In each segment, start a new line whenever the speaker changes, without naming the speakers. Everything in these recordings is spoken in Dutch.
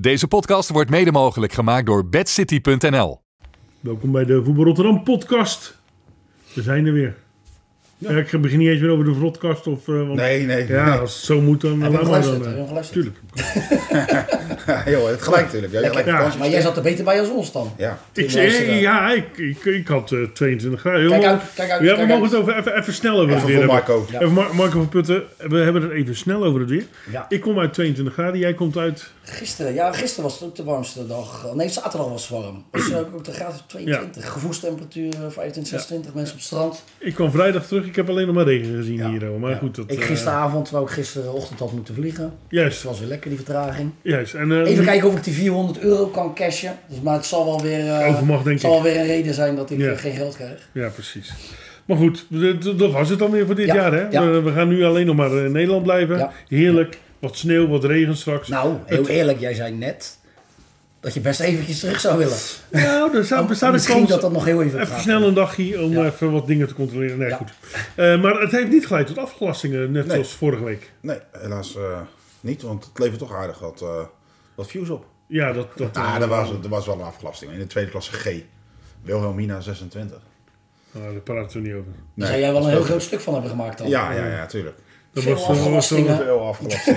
Deze podcast wordt mede mogelijk gemaakt door bedcity.nl.
Welkom bij de Voetbal Rotterdam podcast. We zijn er weer. Ja. ik begin niet eens meer over de vlotkast of... eh, want-
Nee, nee.
Ja,
nee.
als het zo moet dan...
Heb je
laat
hem
maar
geluisterd?
dan,
Heb je
eh.
hem geluisterd?
Tuurlijk.
Ja, joh, het gelijk natuurlijk. Ja, je gelijk
Ja.
vakantie.
Maar jij zat er beter bij als ons dan.
Ja.
Ik,
Die luisteren.
eh, ja, ik, ik, ik had eh, 22 graden.
Kijk
Jongen,
uit, kijk uit,
Ja, we
kijk
mogen
uit.
het over, even, even snel over het
Even
weer
voor
hebben.
Marco.
Ja.
Even Mar- Marco van Putten, we hebben het even snel over het weer.
Ja.
Ik kom uit 22 graden, jij komt uit...
Gisteren, ja, gisteren was het ook de warmste dag. Eh, Nee, zaterdag was het warm. Dus eh, ook de graad of 22. Gevoelstemperatuur eh, 25, 26 mensen op het strand.
Ik kwam vrijdag terug, ik heb alleen nog maar regen gezien hier. hoor. Maar
Ja.
goed, dat...
ik
eh,
gisteravond, terwijl ik gisterochtend had moeten vliegen. Dus
juist,
het was weer lekker, die vertraging.
juist. En, eh,
Even kijken of ik die 400 euro kan cashen. Dus, maar het zal wel weer, eh,
Overmacht, denk
het zal
ik.
wel weer een reden zijn dat ik
Ja.
eh, geen geld krijg.
Ja, precies. Maar goed, dat dat was het dan weer voor dit
Ja,
jaar. Hè?
ja.
We, we gaan nu alleen nog maar eh, in Nederland blijven.
Ja.
Heerlijk. Wat sneeuw, wat regen straks.
Nou, heel eerlijk, jij zei net dat je best eventjes terug zou willen.
Nou, er staat, bestaat een
Misschien
kans.
dat dat nog heel even
Even
gaat.
snel een dagje om
Ja.
even wat dingen te controleren. Nee,
Ja.
goed. Eh, maar het heeft niet geleid tot afgelastingen, net
Nee.
zoals vorige week.
Nee, helaas eh, niet, want het levert toch aardig wat, eh, wat views op.
Ja, dat... dat
Ah,
eh,
er was, er was wel een afgelasting. In de tweede klasse G. Wilhelmina 26.
nou, daar praten we niet over.
Daar
Nee,
zou jij wel een heel
dat is
groot stuk van hebben gemaakt dan.
Ja, ja, ja, tuurlijk.
Dat
Veel
was, dat was-
afgelastingen.
dat was-
Veel afgelasting.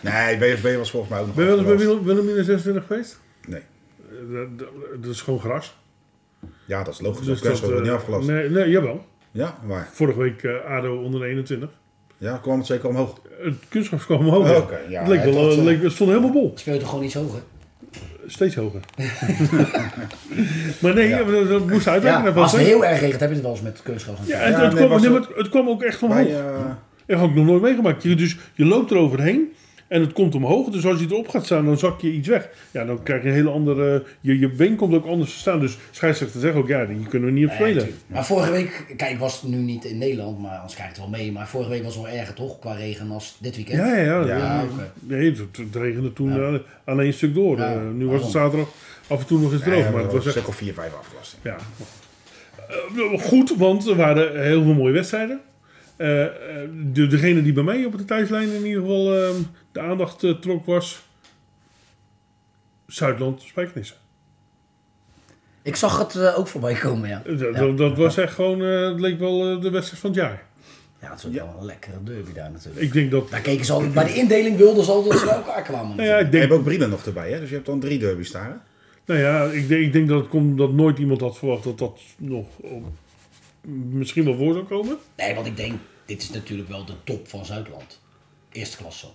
nee, BFB was volgens mij ook nog
Ben je wel eens bij
afgelast.
Willem- Wilhelmina 26 geweest?
Nee.
Eh, dat- dat- Dat is gewoon gras.
Ja, dat is logisch.
Dus
Dus dat wordt
eh,
niet afgelast.
Nee, nee, jawel.
Ja, maar
Vorige week eh, ADO onder de 21.
ja, kwam het zeker omhoog.
Het kunstgras kwam omhoog.
Oh, oké, ja,
het, leek
hij
wel,
had
eh,
dat,
leek- het stond helemaal bol.
Speel je toch gewoon iets hoger?
Steeds hoger. maar nee, dat, dat moest uitleggen.
Ja,
Dat was
als het
leuk.
heel erg regent, heb je het wel eens met kunstgras.
ja, het,
Ja,
het,
nee,
kwam,
was
nee,
ook-
maar het- het kwam ook echt omhoog.
Wij, eh,
Dat had ik nog nooit meegemaakt. Je, dus je loopt eroverheen en het komt omhoog. Dus als je erop gaat staan, dan zak je iets weg. Ja, dan krijg je een hele andere... Je, je been komt ook anders te staan. Dus scheidsrechter zegt ook, ja, die kunnen we niet op spelen.
Maar vorige week, kijk, ik was nu niet in Nederland, maar anders kijk ik het wel mee. Maar vorige week was het wel erger toch, qua regen als dit weekend.
ja, ja, ja.
Ja,
ja.
oké.
Nee, het, het regende toen eh, alleen een stuk door.
Ja,
Eh, nu was het
daarom.
zaterdag af en toe nog eens droog.
ja,
maar het was echt...
stuk of 4, 5 afgelasting.
Ja. Eh, Goed, want er waren heel veel mooie wedstrijden. Eh, eh, de, degene die bij mij op de thuislijn in ieder geval eh, de aandacht eh, trok was... Zuidland Spijkenissen.
Ik zag het eh, ook voorbij komen, ja.
Eh, Dat,
Ja.
dat, dat was echt gewoon, eh, het leek wel eh, de wedstrijd van het jaar.
Ja, het is ook wel een lekkere derby daar natuurlijk.
Ik denk dat...
Daar keken ze altijd, bij de indeling wilden ze altijd dat ze bij elkaar kwamen.
Nou ja, ik
Je
denk,
hebt ook Brielen nog erbij, hè? dus je hebt dan drie derby's daar. hè?
nou ja, ik denk, ik denk dat, het komt, dat nooit iemand had verwacht dat dat nog op- misschien wel voor zou komen.
Nee, want ik denk, dit is natuurlijk wel de top van Zuidland. Eerste klasse.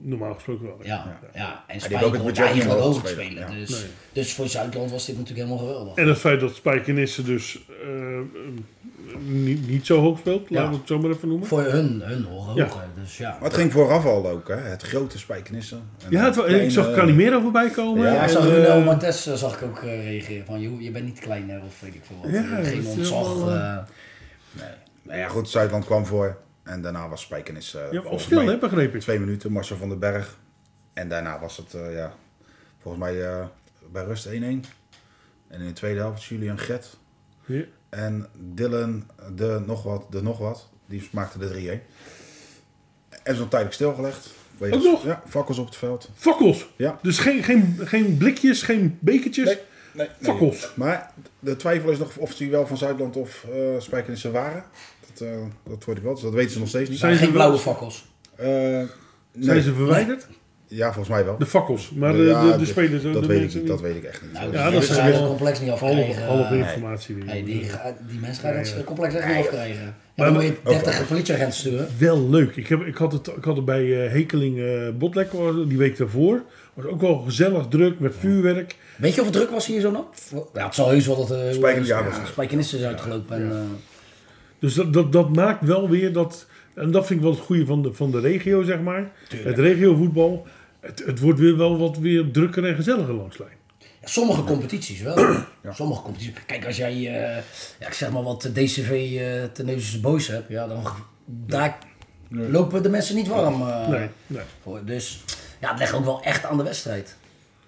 Normaal gesproken wel.
Ja, ja. En
hebben ook
Spijker
het
wordt
budget om
eigenlijk
hoog te
hoog te
spelen,
spelen. Dus, dus voor Zuidland was dit natuurlijk helemaal geweldig.
En het feit dat Spijkenissen dus eh, eh, niet, niet zo hoog speelt, laten we het zo maar even noemen.
Voor hun, hun hoor,
Ja.
hoog, hè. Dus ja.
Maar het ging vooraf al ook, hè? Het grote spijkenissen. En
Ja,
dan
het wa- ik
kleine-
zag Calimero voorbij komen.
Ja,
Ja, ik
en,
zag
eh,
Runel Martes eh, zag ik ook eh, reageren van joh, je bent niet kleiner of weet ik veel wat.
Ja, dat
Geen
is
ontzag.
wel, eh,
eh,
Nou ja, goed, Zuidland kwam voor. En daarna was Spijkenis eh
ja, op
volgens
stil,
mij
hè, begreep ik.
twee minuten, Marcel van den Berg. En daarna was het, eh, ja, volgens mij eh, bij rust 1-1. En in de tweede helft Julian Gert
Ja.
en Dylan de nog wat, de nog wat. Die maakte de 3-1. En zo'n tijdelijk stilgelegd. Wegens-
Ook nog?
Ja, fakkels op het veld.
Fakkels.
Ja.
Dus geen, geen, geen blikjes, geen bekertjes.
Nee, nee, nee.
Fakkels.
Maar de twijfel is nog of die wel van Zuidland of eh Spijkenissen waren. Dat, eh, dat hoorde ik wel, dus dat weten ze nog steeds niet.
Zijn-
geen
ze
blauwe
wel-
fakkels.
Eh,
Zijn
nee.
ze verwijderd?
Ja, volgens mij wel.
De fakkels. Maar de,
Ja,
de, de
dat-
spelers, eh,
dat,
de
weet ik,
mensen
niet,
niet.
dat weet ik echt niet.
Nou,
Ja,
die
dat
mensen
is
gaan
wel-
het complex niet
Halve,
afkrijgen.
halve
eh,
informatie weer.
nee, die, ga- die mensen gaan het eh, complex echt niet afkrijgen. En
Maar
dan moet
dat-
je 30 politieagenten sturen.
Wel leuk. Ik, heb, ik, had het, ik had het bij eh, Hekeling eh Botlek eh, die week daarvoor. Was ook wel gezellig druk met vuurwerk.
Weet je of het druk was hier zo dan? Ja, het zal heus wel dat eh
Spijkenis- ja,
ja,
was-
Spijkenissen is dus uitgelopen. En, eh,
Dus dat, dat, dat maakt wel weer dat. En dat vind ik wel het goede van de, van de regio, zeg maar. Het regiovoetbal. Het, het wordt weer wel wat weer drukker en gezelliger langs lijn.
ja, sommige competities wel. Sommige competities. Kijk, als jij, eh, ja, ik zeg maar wat, de DCV eh Tenneuzense Boys hebt, ja, dan daar lopen de mensen niet warm.
Ah.
eh,
Nee, nee.
Voor- Dus ja, het legt ook wel echt aan de wedstrijd.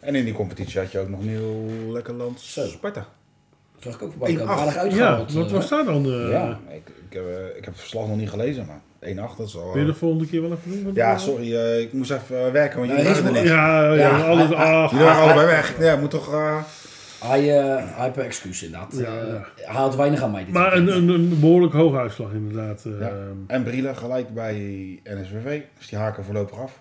En in die competitie had je ook nog nieuw lekker land Sparta.
Dat zag ik ook voorbij komen.
1-8.
Aardig
Ja,
uitgehaald.
wat
eh.
was daar dan? eh,
Ja, ik, ik, heb, eh, ik heb het verslag nog niet gelezen, maar 1-8, dat is al...
Wil je de volgende keer wel even doen? Want-
Ja, sorry, eh, ik moest even eh, werken, want
Nee,
jullie waren er
is
niet.
Ja, ja,
Ja,
alles.
ah, ah,
ach.
Jullie waren allebei weg. Ja, moet toch... eh,
Hij, eh, hij heeft een excuus inderdaad. Eh,
Ja, ja.
hij had weinig aan mij dit
Maar een,
weekend.
een, een behoorlijk hoge uitslag inderdaad. eh,
Ja. En Brielen gelijk bij NSWV. Dus die haken voorlopig af.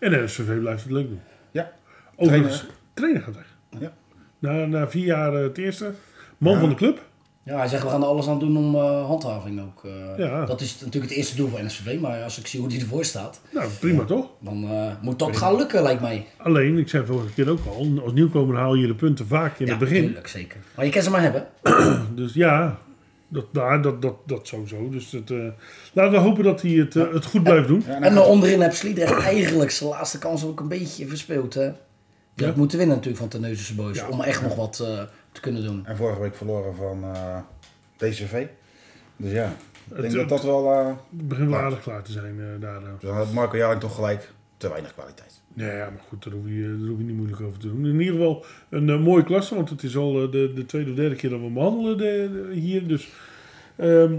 En NSVV blijft het leuk doen.
Ja.
Overigens,
Trainer.
trainer gaat weg.
Ja.
Na, na vier jaar eh, het eerste. Man
Ja.
van de club.
Ja, hij zegt we gaan er alles aan doen om eh, handhaving ook. eh,
Ja.
Dat is natuurlijk het eerste doel van NSVV. Maar als ik zie hoe die ervoor staat,
Nou, prima toch?
dan eh, moet dat gaan lukken lijkt mij.
Alleen, ik zei vorige keer ook al, als nieuwkomer haal je de punten vaak in
ja,
het begin.
natuurlijk, zeker. Maar je kan ze maar hebben.
Dus ja, dat, daar, dat, dat, dat sowieso. Dus het, eh, laten we hopen dat hij het, eh, het goed blijft doen.
Ja, en dan
En
gaat-
dan onderin heb Sliedrecht eigenlijk zijn laatste kans ook een beetje verspeeld. Hè? Die had moeten winnen natuurlijk van Terneuzense Boys. Om echt nog wat eh, te kunnen doen.
En vorige week verloren van eh, DCV. Dus ja, ik denk
Het-
dat dat wel... eh,
Het begint wel aardig klaar te zijn eh, daar. eh.
dan had Marco Jaring toch gelijk te weinig kwaliteit.
Nee, ja, maar goed, daar hoef, je, eh, daar hoef je niet moeilijk over te doen. In ieder geval een eh, mooie klasse, want het is al eh, de, de tweede of derde keer dat we hem behandelen de- de- hier. Dus ehm,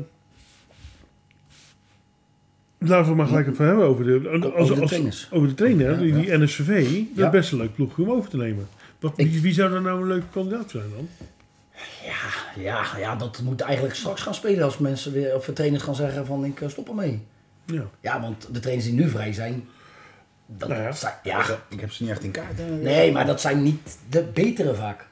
laten we maar gelijk even hebben over de,
Over de trainers.
Over de trainer,
Ja,
die, die NSV. Dat
Ja.
is best een leuk ploeg om over te nemen. Wat, wie, wie zou daar nou een leuke kandidaat zijn dan?
Ja, ja, ja, dat moet eigenlijk straks gaan spelen als mensen weer of trainers gaan zeggen van ik eh, stop ermee.
Ja.
Ja, want de trainers die nu vrij zijn, dat
Nou ja.
zijn ja,
Dus, eh, Ik heb ze niet echt in kaart. eh.
nee, maar dat zijn niet de betere vaak.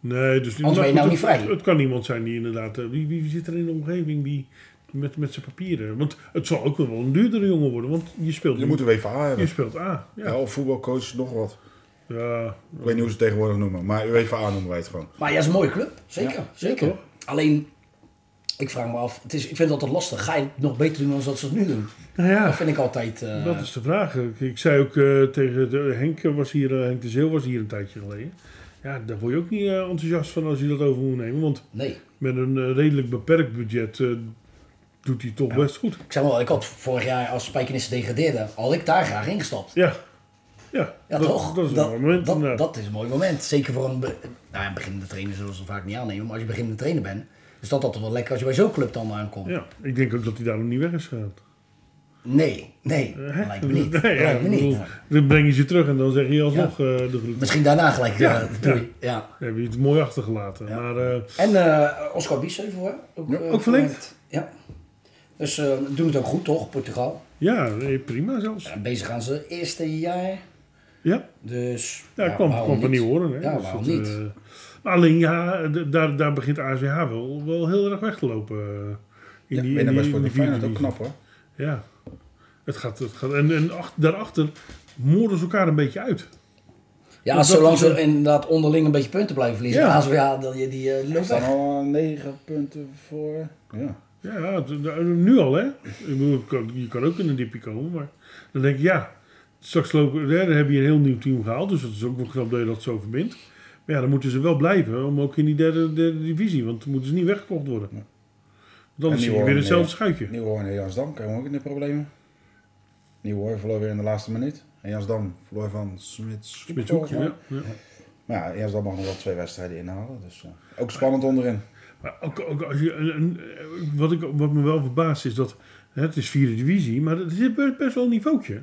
Nee, dus
Anders ben
maar
je nou
goed,
niet vrij.
Het, het kan iemand zijn die inderdaad. eh, Wie, wie zit er in de omgeving die met, met zijn papieren? Want het zal ook wel een duurdere jongen worden, want je speelt,
Je moet een WVA
je
hebben.
speelt A.
Ja,
Ja.
of voetbalcoach, nog wat.
ja.
Ik weet niet hoe ze het tegenwoordig noemen, maar UEFA noemen wij het gewoon.
Maar ja, het is een mooie club, zeker, zeker.
toch?
Alleen, ik vraag me af, het is, ik vind het altijd lastig. Ga je het nog beter doen dan dat ze het nu doen?
Nou ja,
Dat vind ik altijd. eh,
dat is de vraag. Ik, ik zei ook eh, tegen de, Henk, eh, was hier, eh, Henk de Zeeuw was hier een tijdje geleden. Ja, daar word je ook niet eh, enthousiast van als je dat over moet nemen. Want
Nee.
met een eh, redelijk beperkt budget eh, doet hij toch best goed.
Ik zeg maar, wel, ik had vorig jaar als Spijkenissen degradeerde, had ik daar graag ingestapt.
Ja, ja,
Ja,
dat,
toch?
dat is een mooi moment.
dat,
inderdaad.
dat is een mooi moment. Zeker voor een, be- nou ja, beginnende trainer zullen ze vaak niet aannemen. Maar als je beginnende trainer bent, is dat altijd wel lekker als je bij zo'n club dan aankomt.
ja, ik denk ook dat hij daarom niet weg is gegaan.
Nee, nee, dat lijkt me niet.
Nee,
Dat
ja,
lijkt me
ik
niet.
bedoel, Dan breng je ze terug en dan zeg je alsnog eh, de groeten.
Misschien daarna gelijk.
Ja,
Ja, doei. Ja.
Dan heb je het mooi achtergelaten. Maar eh,
En eh, Oscar Biesheuvel, hè? Ook, eh,
ook verlengd.
Ja. Dus eh doen het ook goed, toch? Portugal.
ja, nee, prima zelfs.
Ja, bezig aan zijn eerste jaar.
Ja,
Dus.
ja, kwam,
waarom
kwam van
niet?
nieuw horen. Hè.
Ja,
Dus
waarom
dat,
niet?
eh, maar alleen ja, d- daar, daar begint ASWH wel, wel heel erg weg te lopen. eh, in
Ja,
die, in
winnen bij
die, in die vierde
Sporting Feyenoord ook
divisie.
knap hoor.
Ja, het gaat. Het gaat en en ach- daarachter moorden ze elkaar een beetje uit.
Ja,
dat
zolang
die-
ze inderdaad onderling een beetje punten blijven verliezen.
Ja.
Ja, ja die, die eh,
Er
loopt
staan
weg.
al negen punten voor. Ja.
Ja, het- de- nu al hè. Ik bedoel, ik kan- je kan ook in een dipje komen, maar dan denk ik ja, straks lopen, hè, dan heb je een heel nieuw team gehaald, dus dat is ook wel knap dat je dat zo verbindt. Maar ja, dan moeten ze wel blijven, om ook in die derde, derde divisie, want dan moeten ze niet weggekocht worden.
Ja.
Dan
En
zie je
Nieuwhoorn,
weer hetzelfde
eh,
schuitje.
Nieuwhoorn en Jansdam krijgen we ook in de problemen. Nieuwhoorn verloor weer in de laatste minuut. En Jansdam verloor van Smit
Met
Smit
hoek, ja. ja.
Maar ja, Jansdam mag nog wel twee wedstrijden inhalen. Dus eh, ook spannend onderin.
Maar ook, ook als je, een- een- wat, ik, wat me wel verbaast is dat, hè, het is vierde divisie, maar het is best, best wel een niveautje.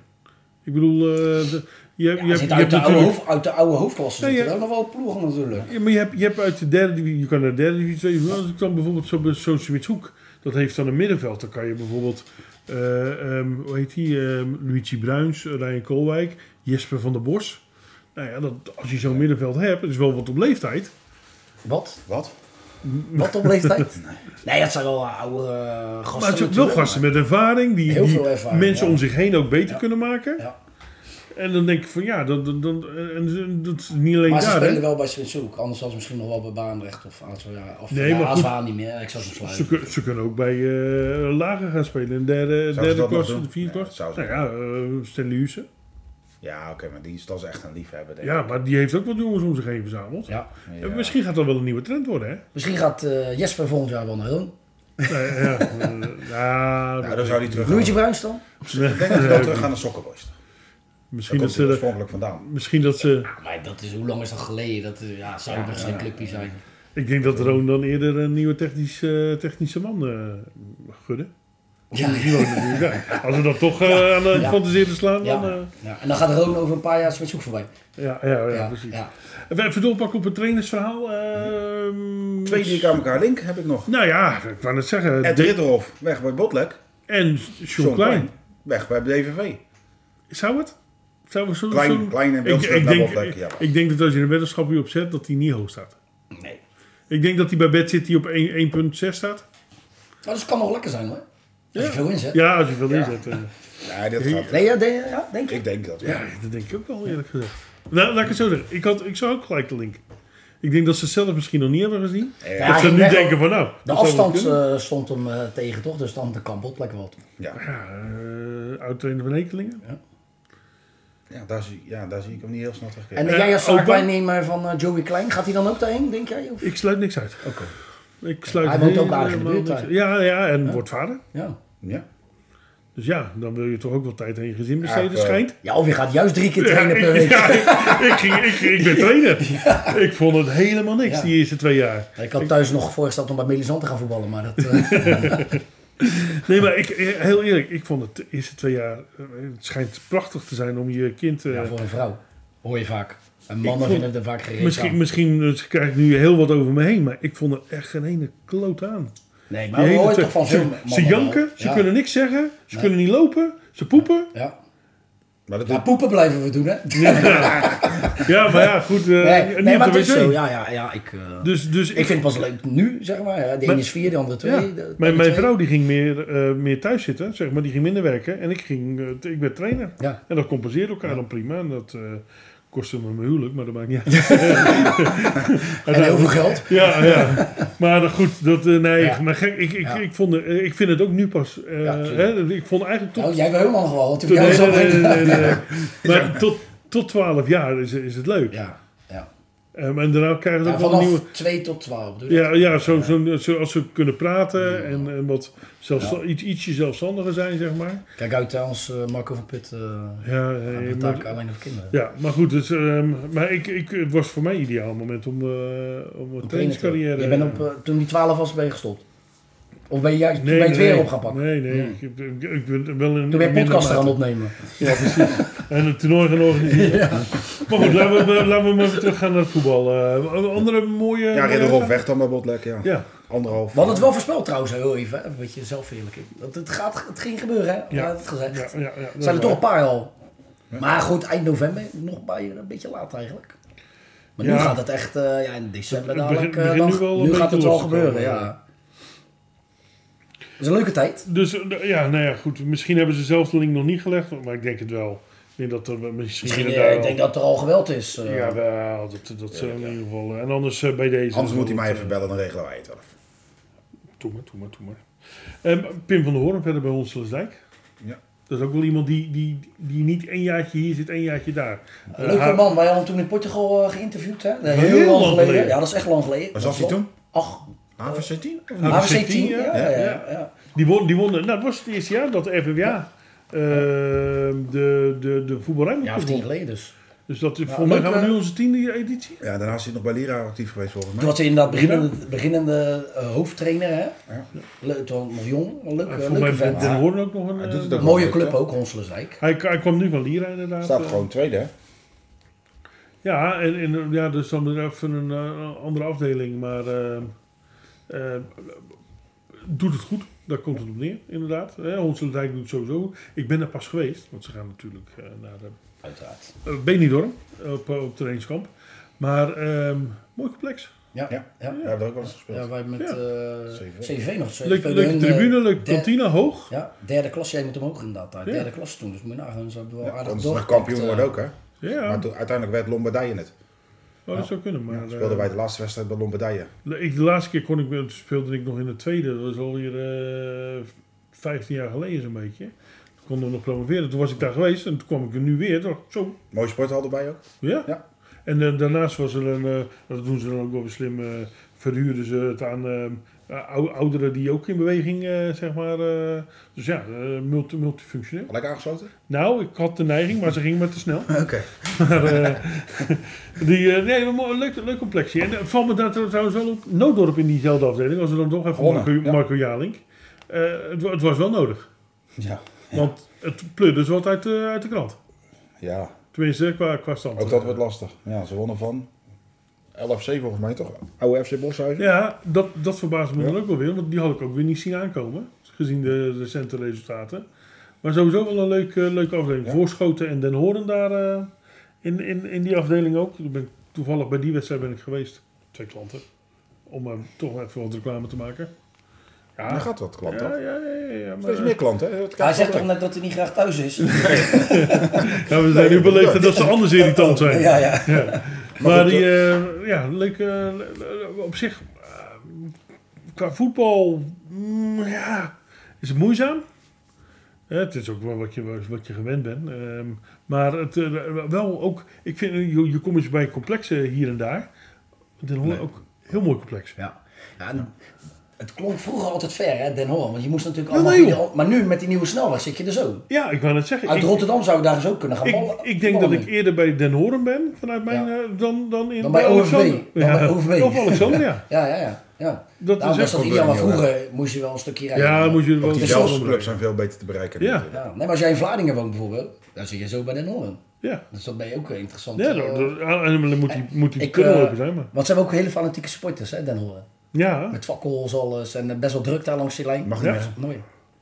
Ik bedoel, eh, de- je, hebt-
Ja,
je, hebt-
zit
je
uit,
hebt
de oude
natuurlijk...
hoofd, uit de oude hoofdklasse
Nee,
zitten
ja.
wel nog wel ploegen natuurlijk.
Ja, maar je hebt, je hebt uit de derde divisie, je kan naar de derde divisie, tweede divisie. Als ik dan bijvoorbeeld zo bij zo'n Smitshoek, dat heeft dan een middenveld. Dan kan je bijvoorbeeld, eh, ehm, hoe heet die, ehm, Luigi Bruins, Ryan Koolwijk, Jesper van der Bos. Nou ja, dat, als je zo'n middenveld hebt, het is wel wat op leeftijd.
Wat?
Wat?
Wat op leeftijd? nee, dat zijn wel eh, oude eh, gasten
Maar het zijn wel
natuurlijk.
gasten met ervaring, die,
Heel
die
veel ervaring,
mensen
ja.
om zich heen ook beter
Ja.
kunnen maken.
Ja.
En dan denk ik van ja, dat, dat, dat, en, en dat is niet alleen
Maar ze
daar.
spelen
Hè.
wel bij Zwitserhoek. Anders was het misschien nog wel bij Baanrecht of Azwa. Of
Nee,
nee, ja,
maar goed.
ASWA niet meer. Ik zou ze
Ze,
sluiten.
kun- ze kunnen ook bij eh lager gaan spelen. In derde,
ze
derde
dat nog
klas,
doen?
de vierde
Nee,
klas.
dat zou ze
nou ja, eh Stanley Huussen.
Ja, oké, maar die is, dat is echt een liefhebber. Denk ik.
Ja, maar die heeft ook wat jongens om zich heen verzameld.
Ja.
Ja.
Eh, Misschien gaat dat wel een nieuwe trend worden, hè?
Misschien gaat eh, Jesper volgend jaar wel naar Rome.
Nee, ja, eh, ja,
Nou, dan zou die terug.
Luigi Bruins dan?
Ik denk dat ze wel terug gaan naar Sokkenboys. Daar
misschien, dat
komt
ze,
hij
de-
oorspronkelijk vandaan.
misschien dat ze...
Ja, maar dat is, hoe lang is dat geleden? Dat eh, ja, zou nog zijn clubje zijn.
Ik denk dat Roon dan eerder een nieuwe technisch, eh, technische man eh, gunde. Ja. Als we dat toch eh, aan de
Ja.
fantaseren slaan,
Ja.
dan... eh,
Ja. En dan gaat Roon over een paar jaar met zoek voorbij.
ja, ja, ja,
Ja,
precies.
ja.
En Even doorpakken op het trainersverhaal. ehm,
Twee die ik aan elkaar link heb ik nog.
Nou ja, ik wou net zeggen.
Ed
De-
Ridderhof, weg bij Botlek.
en Sean Klein.
weg bij DVV.
Zou het? Zou we zo,
Klein,
zo-
klein en
ik,
Wilfred
ik,
naar
denk,
Botlek, ja.
ik denk dat als je een weddenschap hier op zet, dat hij niet hoog staat.
Nee.
Ik denk dat hij bij Bed City op 1 1,6 staat.
Nou, dus het kan nog lekker zijn hoor. Als je veel inzet.
Ja, als je veel inzet. eh.
Ja, dit gaat...
Nee, ja, de- ja, denk ik.
Ik denk dat.
Ja, dat denk ik ook wel, eerlijk gezegd. Nou, laat ik het zo zeggen. Ik, had, ik zou ook gelijk de link. Ik denk dat ze het zelf misschien nog niet hebben gezien.
Ja,
dat ze
ik
nu
denk wel-
denken van nou...
De
dat zou wel
afstand
kunnen.
eh, stond hem eh, tegen, toch? Dus dan de kampotplek wel.
Ja,
Ja, eh, oud-trainer van Ekelingen.
ja, daar zie, ja, daar zie ik hem niet heel snel terugkeren.
En
Eh,
jij als
ook wel-
zaakwaarnemer van eh, Joey Klein, gaat hij dan ook daarheen, denk jij? Of?
Ik sluit niks uit.
Oké.
Ik sluit
Hij woont ook
helemaal
aardig in de buurt,
niks-
hè?
Ja, ja, en wordt vader.
Ja.
Ja.
Dus ja, dan wil je toch ook wel tijd aan je gezin
Ja,
besteden,
ik, eh,
schijnt.
ja, of je gaat juist drie keer trainen per
ik,
week.
ja, ik- ik, ging, ik, ging- ik ben trainer. Ik vond het helemaal niks
Ja.
die eerste twee jaar.
Ik had thuis nog voorgesteld om bij Melisande te gaan voetballen, maar dat... eh,
Nee, maar ik, eh, heel eerlijk, ik vond het de eerste twee jaar... eh, Het schijnt prachtig te zijn om je kind... eh,
ja, voor een vrouw hoor je vaak. En
Ik
mannen
vond-
vinden het er vaak gereed
misschien,
aan.
misschien eh, krijg ik nu heel wat over me heen, maar ik vond er echt geen ene kloot aan.
Nee,
Die
maar we
hele
horen
twee-
toch van veel
ze,
mannen
ze
wel.
janken, ze
Ja.
kunnen niks zeggen, ze
Nee.
kunnen niet lopen, ze poepen.
Ja.
Maar dat
ja, poepen blijven we doen, hè? Nee,
Ja, maar ja, goed. eh, niet
nee,
op
maar
de
het is
wc.
zo. Ja, ja, ja. Ik, eh,
Dus, dus
ik vind het pas leuk nu, zeg maar. hè. De
Maar-
ene is vier, de andere twee.
Ja.
de- de andere
Mijn, mijn
twee.
vrouw die ging meer, eh, meer thuis zitten, zeg maar, die ging minder werken. En ik, ging, eh, t- ik werd trainer.
Ja.
En dat compenseerde elkaar dan prima. En dat eh, kostte me mijn huwelijk, maar dat maakt niet uit.
En heel veel geld.
ja, ja. Maar eh, goed, dat, eh, nee,
Ja.
maar gek, ik, ik,
Ja.
ik, vond, eh, ik vind het ook nu pas. eh,
Ja, tuurlijk.
hè, ik vond eigenlijk tot.
Nou, jij wil helemaal gewoon, want die
tot-
jou
nee,
zo
nee, nee, nee, nee, nee. Maar tot, tot 12 jaar is, is het leuk.
Ja, ja.
Ehm, en daarna krijgen we
ja
ook wel een nieuwe.
vanaf 2 tot 12. Dus.
Ja, ja zo, zo, zo, als ze kunnen praten en, en wat zelfs, iets, ietsje zelfstandiger zijn, zeg maar.
Kijk uit trouwens, eh, Marco van Put. eh
Ja, eh,
gaat
je
met
moet-
taak alleen op kinderen.
ja maar goed, dus, ehm, maar ik, ik, het was voor mij een ideaal moment om, eh om een
Op trainen te-
trainingscarrière...
Je bent op, eh, toen die 12 was, ben je gestopt. Of ben je, juist-
Nee,
ben je het weer
nee.
op gaan pakken?
Nee, nee. Ik, ik, ik- ik ben wel een
Toen ben je podcasten gaan
minder-
opnemen.
Ja, precies. en een toernooi gaan organiseren. Maar goed, laten we, laten we maar even terug gaan naar het voetbal. Eh, een andere mooie...
ja,
mooie
Ridderhof
zaak?
weg dan bij Botlek, ja.
Ja.
Anderhalf.
We hadden het wel voorspeld trouwens, heel even. hè. Een beetje zelf eerlijk. Dat het, gaat, het ging gebeuren, hè?
Ja.
Ja. het gezegd.
Ja, ja, ja, dat
zijn
is
er toch
waar.
een paar al. Maar goed, eind november, nog een paar een beetje laat eigenlijk. Maar nu
Ja.
gaat het echt, eh, ja, in december
Het begint-
dadelijk. eh,
begint
dan-
nu wel een
nu
beetje
gaat het wel
los te komen,
gebeuren,
ja.
ja. Het is een leuke tijd.
Dus eh, ja, nou ja, goed. Misschien hebben ze zelf de link nog niet gelegd, maar ik denk het wel. Ik denk dat er misschien,
Misschien, eh,
inderdaad
ik
wel-
denk dat er al geweld is. eh.
Ja, wel, dat, dat zijn in ieder geval. eh, En anders eh, bij deze.
Anders moet hij
eh,
mij even bellen, dan regelen wij het wel.
Doe maar, doe maar, doe maar. Ehm, Pim van der Hoorn verder bij Honselersdijk.
Ja.
Dat is ook wel iemand die, die, die niet één jaartje hier zit, één jaartje daar. Eh,
Een leuke
haar-
man. Wij hadden hem toen in Portugal eh, geïnterviewd, hè? Heel,
Heel
lang
lang
geleden.
geleden. Nou,
Ja, dat is echt lang geleden.
Was
Dat
dat hij
is wel-
toen?
Ach,
HVC 10? Of niet?
Ah,
HVC 10,
10,
ja.
ja.
ja, ja,
Ja.
ja.
Die won, die won, nou, dat was het eerste jaar dat de FNWA eh, ehm, de, de, de
Ja,
voetbalruimte
of tien
won.
geleden dus.
Dus dat, is
Ja,
volgens mij
leuk, eh,
gaan we
hè?
nu onze tiende editie.
Ja, daarnaast is hij nog bij Lira actief geweest volgens
Toen
mij.
was hij inderdaad beginnende, beginnende eh, hoofdtrainer, hè?
Ja.
Leuk, toen nog jong, een
En
leuke,
Eh, volgens mij
leuke
heeft
vent.
Den Hoorn ook nog een...
Hij doet het
eh,
ook.
Mooie
Leuk,
club
hè?
ook, Honselerswijk.
hij, hij kwam nu van Lira inderdaad.
Staat
eh.
gewoon tweede, hè?
Ja, en, en eh, ja, dus dan weer even een eh, andere afdeling. Maar eh, eh, doet het goed. Daar komt het op neer, inderdaad. Eh, Honselendijk doet het sowieso goed. Ik ben er pas geweest, want ze gaan natuurlijk eh, naar eh,
Uiteraard.
eh Benidorm op, eh, op trainingskamp. Maar ehm, mooi complex.
Ja,
Ja.
ja.
Ja,
ja.
we hebben ook wel eens gespeeld.
wij met
Ja.
eh,
CV.
CV nog. Ze
Leuk,
spelen
leuke
hun,
tribune,
eh,
leuke
der-
kantine, hoog.
Ja, derde klas. Jij moet hem ook inderdaad. daar.
Ja.
Derde klas toen. Dus moet je nagaan. Ze hebben wel
Ja,
aardig
anders nog
doorgepakt,
kampioen
eh.
worden ook, hè?
Ja,
Maar toen, uiteindelijk werd Lombardije het.
oh, dat zou kunnen. Maar,
Speelden
eh,
wij de laatste wedstrijd bij Lombardije.
de- ik, de laatste keer kon ik, speelde ik nog in de tweede. Dat was alweer eh 15 jaar geleden zo'n beetje. Toen konden we nog promoveren. Toen was ik daar geweest en toen kwam ik er nu weer. Toen dacht ik, zo,
Mooie sporthal erbij ook.
Ja.
Ja.
En eh, daarnaast was er een, eh, dat doen ze dan ook wel weer slim, eh, verhuurden ze het aan eh, ou- ouderen die ook in beweging, eh, zeg maar. eh, dus ja, eh, multi multifunctioneel.
Lekker aangesloten?
Nou, ik had de neiging, maar ze ging maar te snel.
Oké.
Maar, eh, die, eh nee, maar een leuk, leuk complexie. En eh, valt me daar trouwens wel op, Noodorp in diezelfde afdeling, als we dan toch even
Gewonnen,
Marco,
ja.
Marco Jalink. eh, het, wa- het was wel nodig.
Ja.
Want het pluddert wat uit, de- uit de krant.
ja,
Tenminste, qua, qua stand.
ook dat wordt lastig. Ja, ze wonnen van LFC volgens mij toch? Oude FC Boshuizen.
Ja, dat, dat verbaasde me
Ja.
dan ook wel weer. Want die had ik ook weer niet zien aankomen. Gezien de recente resultaten. Maar sowieso wel een leuke, leuke afdeling.
Ja.
Voorschoten en Den Horen daar eh, in, in, in die afdeling ook. Ik ben, toevallig bij die wedstrijd ben ik geweest. Twee klanten. Om eh, toch even wat reclame te maken. Ja,
Dan gaat dat
ja,
klant toch?
ja, ja, ja, ja, maar, eh,
Steeds meer klanten. hè? Het
Hij
gaat
zegt toch
wel
net dat hij niet graag thuis is?
ja, we zijn nu beleefd dat ze anders irritant zijn.
ja, ja.
Ja. Maar die, eh, ja, leuk, eh, le- le- op zich, eh, qua voetbal, mm, ja, is het moeizaam. Eh, het is ook wel wat je, wat je gewend bent. ehm, maar het, eh, wel ook, ik vind, eh, je, je komt eens bij complexen hier en daar. Dan hoor je ook heel mooi complex.
Ja. ja en het klonk vroeger altijd ver, hè, Den Hoorn. Want je moest natuurlijk
Ja,
allemaal...
nee,
via de-
joh.
maar nu, met die nieuwe snelweg, zit je er zo.
Ja, ik wou net zeggen.
Uit
ik,
Rotterdam zou je daar dus ook kunnen gaan
ik,
ballen-
ik denk dat
ballen
ik
mee.
eerder bij Den Horen ben vanuit mijn,
Ja.
eh, dan, dan, in,
Dan bij OFB.
Alexander.
Dan
Ja,
bij OFB.
Of Alexandria.
Ja, ja, ja. ja. Nou,
Dat
Daarom
is
was
echt
dat
wel
ideaal, maar
belangrijk,
vroeger eh, moest je wel een stukje rijden. eh,
Ja, moet je er wel
Die
is
zelfs
wel
clubs zijn veel beter te bereiken.
Ja.
Ja. Nee, maar als jij in Vlaardingen woont bijvoorbeeld, dan zit je zo bij Den Hoorn.
Ja.
Dus dat ben je ook eh, interessant.
Ja,
eh,
dan, dan- en dan moet hij, moet hij
ik,
kunnen
eh,
lopen zijn, maar.
Want ze hebben ook hele fanatieke sporters, hè, Den Hoorn.
Ja,
Met fakkels, alles. En eh, best wel druk daar langs die lijn.
Mag
Ja.
niet meer.
Mooi.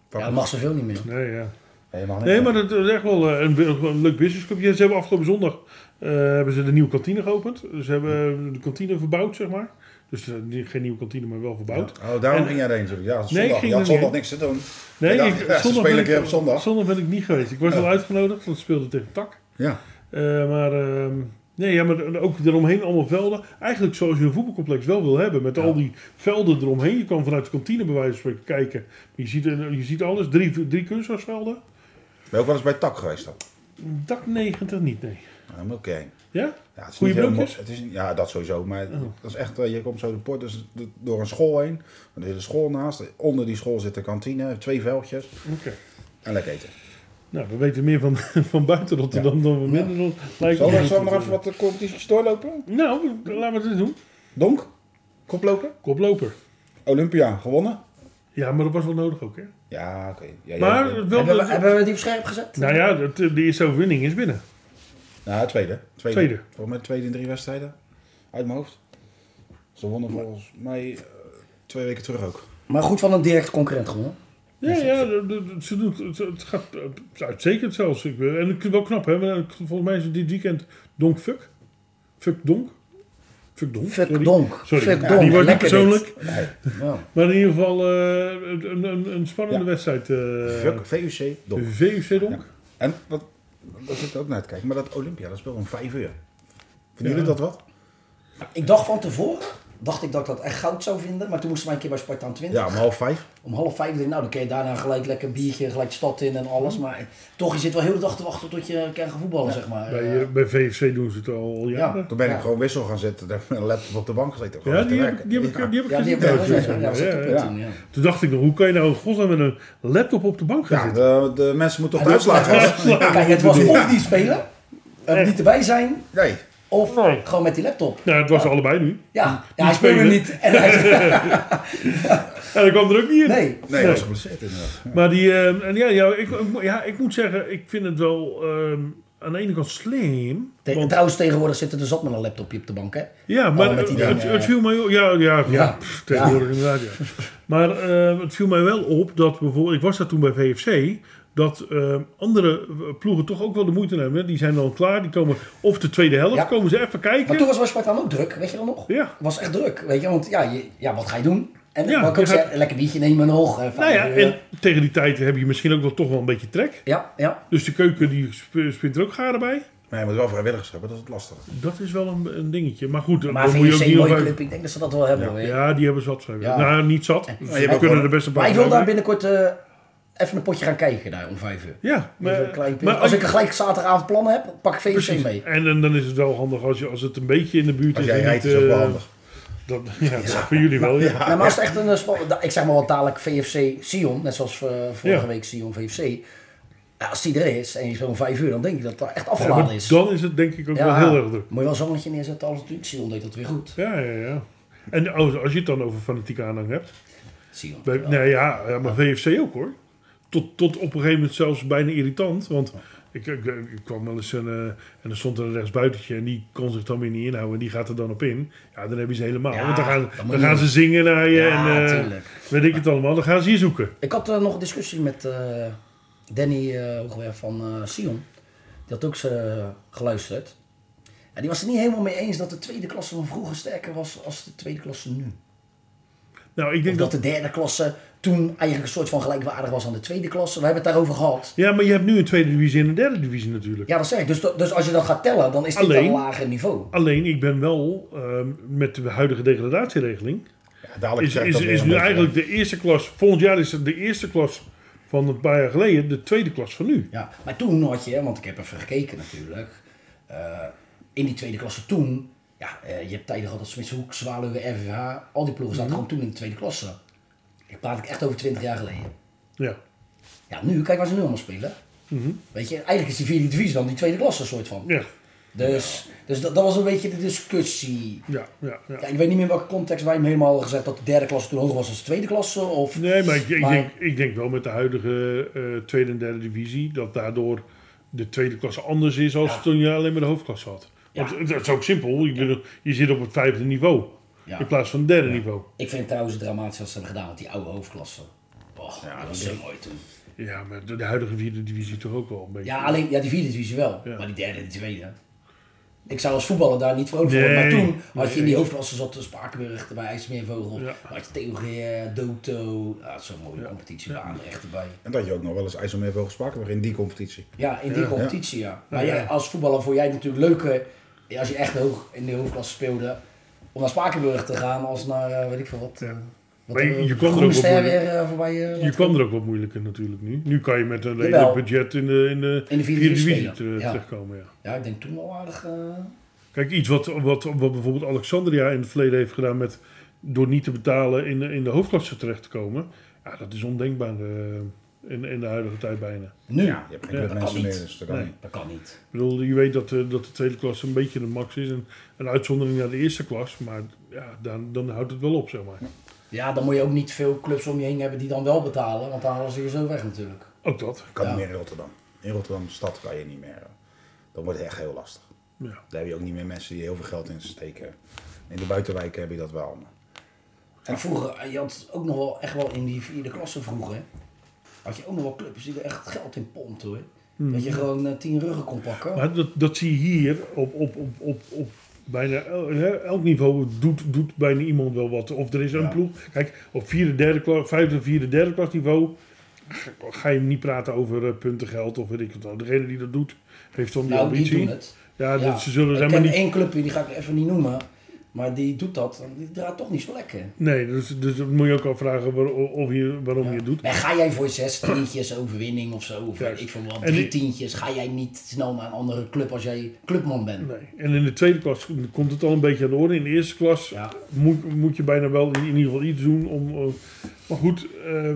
Ja, dat mag zoveel niet meer.
nee, ja.
Nee, mag niet
Nee,
meer.
maar dat is echt wel eh, een, een leuk businessclub. Ja, ze hebben afgelopen zondag eh, hebben ze de nieuwe kantine geopend. Ze hebben de kantine verbouwd, zeg maar. Dus eh, niet- geen nieuwe kantine, maar wel verbouwd.
Oh, daarom
En-
ging jij erheen. natuurlijk. Ja, zondag.
ik ging
je had
er
zondag
niet
niks te doen.
Nee,
Ja,
ik,
ja, ze spelen een keer op zondag.
zondag ben ik niet geweest. Ik was
Ja.
wel uitgenodigd, want ze speelden tegen Tak.
Ja.
Eh, maar, ehm, nee, ja, maar ook eromheen allemaal velden. Eigenlijk zoals je een voetbalcomplex wel wil hebben. Met al die velden eromheen. Je kan vanuit de kantine bij wijze van spreken kijken. Je ziet, je ziet alles. Drie, drie kunstgrasvelden.
Ben je ook wel eens bij Tak geweest dan?
Dak 90 niet, nee.
Ja, Oké.
Ja?
Ja, het is
Goeie
niet heel
broekjes?
mo- het is, niet- Ja, dat sowieso. Maar dat is echt, eh, je komt zo de poort dus de- door een school heen. Er is een school naast. Onder die school zit de kantine. Twee veldjes.
Oké.
En lekker eten.
Nou, we weten meer van, van buiten Rotterdam dan we binnen Rotterdam. Lijkt
Zal
me
ik
goed.
zo nog even wat de competities doorlopen?
Nou, laten we het eens doen.
Donk? Koplopen?
Koploper.
Olympia, gewonnen?
Ja, maar dat was wel nodig ook, hè?
Ja, oké. Ja,
Maar
ja,
het wel...
Hebben we, hebben we die op scherp gezet?
nou ja, het- de eerste overwinning is binnen.
Nou, tweede. Tweede.
Tweede.
Volgens mij tweede in drie wedstrijden. Uit mijn hoofd. Ze wonnen volgens mij eh, twee weken terug ook.
Maar goed van een direct concurrent gewonnen.
Ja, ja de- de- de- ze doet, het, het gaat eh, uitstekend zelfs. Ik, ben- en ik wel knap, hè? maar ik- Volgens mij is het dit weekend Donk Fuck. Fuck Donk. Fuck Donk.
Fuck
sorry.
donk.
Sorry,
Fuck
ja,
donk.
die wordt niet
Lekker dit.
persoonlijk.
Nee.
Ja.
Maar in ieder geval eh, een, een, een spannende
Ja.
wedstrijd. eh
Fuck, VUC, Donk.
VUC Donk.
En wat, dat zit ik ook naar te kijken, maar dat Olympia, dat speelt om vijf uur. Vinden
Ja.
jullie dat wat?
Ik dacht van tevoren, dacht ik dat ik dat echt goud zou vinden. Maar toen moesten wij een keer bij Spartaan 20.
Ja, om half vijf.
Om half vijf dacht ik, nou dan kun je daarna gelijk lekker een biertje, gelijk de stad in en alles. Maar toch, je zit wel heel de dag te wachten tot je kan gaan voetballen, zeg maar.
Bij,
Eh,
eh, bij VFC doen ze het al, al jaren.
Toen ben
Ja.
ik gewoon wissel gaan zetten, daar heb ik mijn laptop op de bank gezeten.
Ja,
gewoon te
die, heb, ik-
werken.
die heb ik, die heb ik
ja, die
gezien.
hebben we wel
thuis,
gezegd. Ja, dat
ja,
zat op
ja.
het toen, ja.
Toen dacht ik nog, hoe kan je nou in godsnaam met een laptop op de bank gaan
Ja,
zitten?
de, de mensen moeten
Ah,
toch de uitslag
Het
hebben.
was- Kijk, het was of niet spelen, er
Echt.
niet erbij zijn,
Nee,
of
Nee.
gewoon met die laptop.
Nou, het was allebei nu.
Ja, ja hij speelde
spelen.
niet. En hij,
En dan kwam er ook niet in.
nee.
nee,
Nee.
was geblesseerd inderdaad.
Maar die, ehm, en ja, ja, ik, ik moet- ja, ik moet zeggen, ik vind het wel ehm, aan de ene kant slim.
Te-
want-
Trouwens, tegenwoordig zit er dus zat met een laptopje op de bank, hè?
ja, maar
met die
het,
dingen,
het- het viel mij... Ja, ja, ja,
Ja.
pff, tegenwoordig inderdaad, ja. Maar ehm, het viel mij wel op dat bijvoorbeeld... Ik was daar toen bij VFC. Dat ehm, andere ploegen toch ook wel de moeite nemen. hè. Die zijn dan klaar. Die komen of de tweede helft.
Ja.
Komen ze even kijken.
Maar toen was bij Spartaan ook druk, weet je wel nog?
Ja.
was echt druk, weet je, want ja, je, ja wat ga je doen? En
Ja,
wat ik
je
ook
gaat-
zei, een lekker biertje nemen nog. eh,
nou
vijf
ja,
uur.
en tegen die tijd heb je misschien ook wel toch wel een beetje trek.
ja, ja.
Dus de keuken die sp- spint er ook garen bij.
Maar je moet wel vrijwilligers hebben, dat is het lastige.
Dat is wel een, een dingetje. Maar goed,
Maar
dan moet je ook
VFC,
niet
mooie
over-
club, ik denk dat ze dat wel hebben. hoor.
Ja, die hebben zat. Zijn
Ja.
Nou, niet zat.
hebt
We
ook
kunnen
wel-
er best een paar
Maar ik wil
bij
daar
hebben.
binnenkort eh, even een potje gaan kijken daar om vijf uur.
Ja,
Even een
maar,
klein punt.
maar
als ik er gelijk zaterdagavond plannen heb, pak ik VFC
precies.
mee.
En, dan- dan is het wel handig als, je, als het een beetje in de buurt
Als
is.
jij
en
rijdt
niet,
is ook
eh,
wel handig.
Dat, ja, dat voor jullie wel. Ja.
Nou, maar als het echt een eh, spa- da- ik zeg maar wat dadelijk VFC Sion, net zoals eh, vorige
Ja.
week Sion VFC. Ja, als die er is en je speelt om vijf uur, dan denk ik dat dat echt
Ja, maar
afgeladen is.
dan is het denk ik ook wel heel erg druk.
Moet je wel een zonnetje neerzetten, alles natuurlijk. Sion deed dat weer goed.
Ja, ja, ja. En als, als je het dan over fanatieke aanhang hebt.
Sion.
Bij,
Ja.
Nou ja, ja, maar VFC ook hoor. Tot, tot op een gegeven moment zelfs bijna irritant. Want ik, ik, ik kwam wel eens een, eh, en er stond er een rechtsbuitentje en die kon zich dan weer niet inhouden. En die gaat er dan op in. Ja, dan hebben ze helemaal.
Ja,
want dan gaan,
dat moet
dan
je
gaan ze
doen.
zingen naar je
Ja,
en eh,
tuurlijk.
weet ik het allemaal. Dan gaan ze je zoeken.
Ik had eh, nog een discussie met eh, Danny eh Hoogwerf van eh Sion. Die had ook eh, geluisterd. En die was er niet helemaal mee eens dat de tweede klasse van vroeger sterker was als de tweede klasse nu.
Nou, ik
Of
denk
dat
dat...
de derde klasse toen eigenlijk een soort van gelijkwaardig was aan de tweede klasse. We hebben het daarover gehad.
Ja, maar je hebt nu een tweede divisie en een derde divisie natuurlijk.
Ja, dat zeg ik. Dus, dus als je dat gaat tellen, dan is dit
Alleen-
een lager niveau.
Alleen, ik ben wel ehm, met de huidige degradatieregeling...
Ja, dadelijk
is,
trekt
is,
dat weer
is
een
nu
beetje.
eigenlijk de eerste klas... Volgend jaar is het de eerste klas van een paar jaar geleden... de tweede klas van nu.
Ja, maar toen had je, want ik heb even gekeken natuurlijk. eh, in die tweede klasse toen, ja, eh, je hebt tijden gehad als Smitshoek, Zwaluwen, RVH. Al die ploegen
Mhm.
zaten gewoon toen in de tweede klasse. Ik praat ik echt over 20 jaar geleden.
Ja.
Ja, nu, kijk waar ze nu allemaal spelen. Weet je, eigenlijk is die vierde divisie dan die tweede klasse soort van.
Mhm. Ja,
Dus, dus dat, dat was een beetje de discussie.
ja, ja. ja.
Ja, ik weet niet meer in welke context wij hem helemaal hadden gezegd dat de derde klasse toen hoger was dan de tweede klasse. Of,
Nee, maar ik, ik,
Maar-
Denk, ik denk wel met de huidige eh, tweede en derde divisie... dat daardoor de tweede klasse anders is... als toen je alleen maar de hoofdklasse had. Want
Ja.
het- dat is ook simpel. Je, bedoel, je zit op het vijfde niveau...
Ja.
in plaats van het derde niveau.
Ik vind het trouwens dramatisch wat ze hebben gedaan met die oude hoofdklasse. Och, dat was zo mooi toen.
Ja, maar de, de huidige vierde divisie toch ook wel een beetje.
Ja, alleen ja, die vierde divisie wel, maar die derde en die tweede. Ik zou als voetballer daar niet vrolijk voor worden.
Nee,
Maar toen had je in
nee.
die hoofdklasse zat dus Spakenburg erbij, IJsselmeervogel.
Ja.
Had je Theogeer, Doto. Ja, zo'n mooie competitiebaan echt erbij.
En dat je ook nog wel eens IJsselmeervogel Spakenburg in die competitie.
Ja, in die competitie, ja. Maar jij, als voetballer vond jij het natuurlijk leuker, ja, als je echt hoog in de hoofdklasse speelde, om naar Spakenburg te gaan als naar, eh, weet ik veel wat.
Ja.
wat
Maar je-
eh,
je kwam er
Groene
ook op,
Ster
hoor.
weer eh, voorbij. eh,
Je
laten
kwam er ook wat moeilijker natuurlijk nu. Nu kan je met een
Jawel.
redelijk budget in de, in de,
In de vierde
vierde
divisie
divisie
spelen.
te-
Ja.
terechtkomen. Ja.
Ja, ik denk toen wel aardig. eh,
Kijk, iets wat, wat, wat bijvoorbeeld Alexandria in het verleden heeft gedaan met door niet te betalen in, de- in de hoofdklasse terecht te komen. Ja, dat is ondenkbaar eh, in, in de huidige tijd bijna.
nu.
Ja, je hebt geen mensen
niet.
meer, dus dat kan
Nee.
niet.
Dat kan niet.
Ik bedoel, je weet dat, eh, dat de tweede klas een beetje de max is. En een uitzondering naar de eerste klas. Maar ja, dan, dan houdt het wel op, zeg maar.
Ja, dan moet je ook niet veel clubs om je heen hebben die dan wel betalen, want dan halen ze je zo weg natuurlijk.
Ook dat.
Kan
Ja.
niet meer in Rotterdam. In Rotterdam stad kan je niet meer. eh, Dan wordt het echt heel lastig.
Ja.
Daar heb je ook niet meer mensen die heel veel geld in steken. In de buitenwijken heb je dat wel. maar-
En vroeger, eh, je had ook nog wel echt wel in die vierde klasse vroeger, had je ook nog wel clubs die er echt geld in pompten hoor. Dat je gewoon eh, tien ruggen kon pakken.
Hmm. Maar dat, dat zie je hier op, op, op, op, op bijna el- hè, elk niveau doet, doet bijna iemand wel wat. Of er is een ploeg. Kijk, op vierde, derde klas, vijfde, vierde, derde klas niveau ga je niet praten over eh, puntengeld of weet ik wat. dan. Degene die dat doet, heeft dan die
nou, die
ambitie.
doen het.
Ja,
Ja.
dat- ze zullen
ik
helemaal
ken
niet...
één club, die ga ik even niet noemen, maar die doet dat. en Die draait toch niet zo lekker.
Nee, dus, dus dan moet je ook afvragen waar, of je, waarom je het doet.
En ga jij voor zes tientjes overwinning of zo, of
Juist.
weet ik veel wat,
En die-
drie tientjes, ga jij niet snel naar een andere club als jij clubman bent.
Nee. En in de tweede klas komt het al een beetje aan de orde. In de eerste klas
Ja.
moet, moet je bijna wel in, in ieder geval iets doen om. eh, maar goed, eh,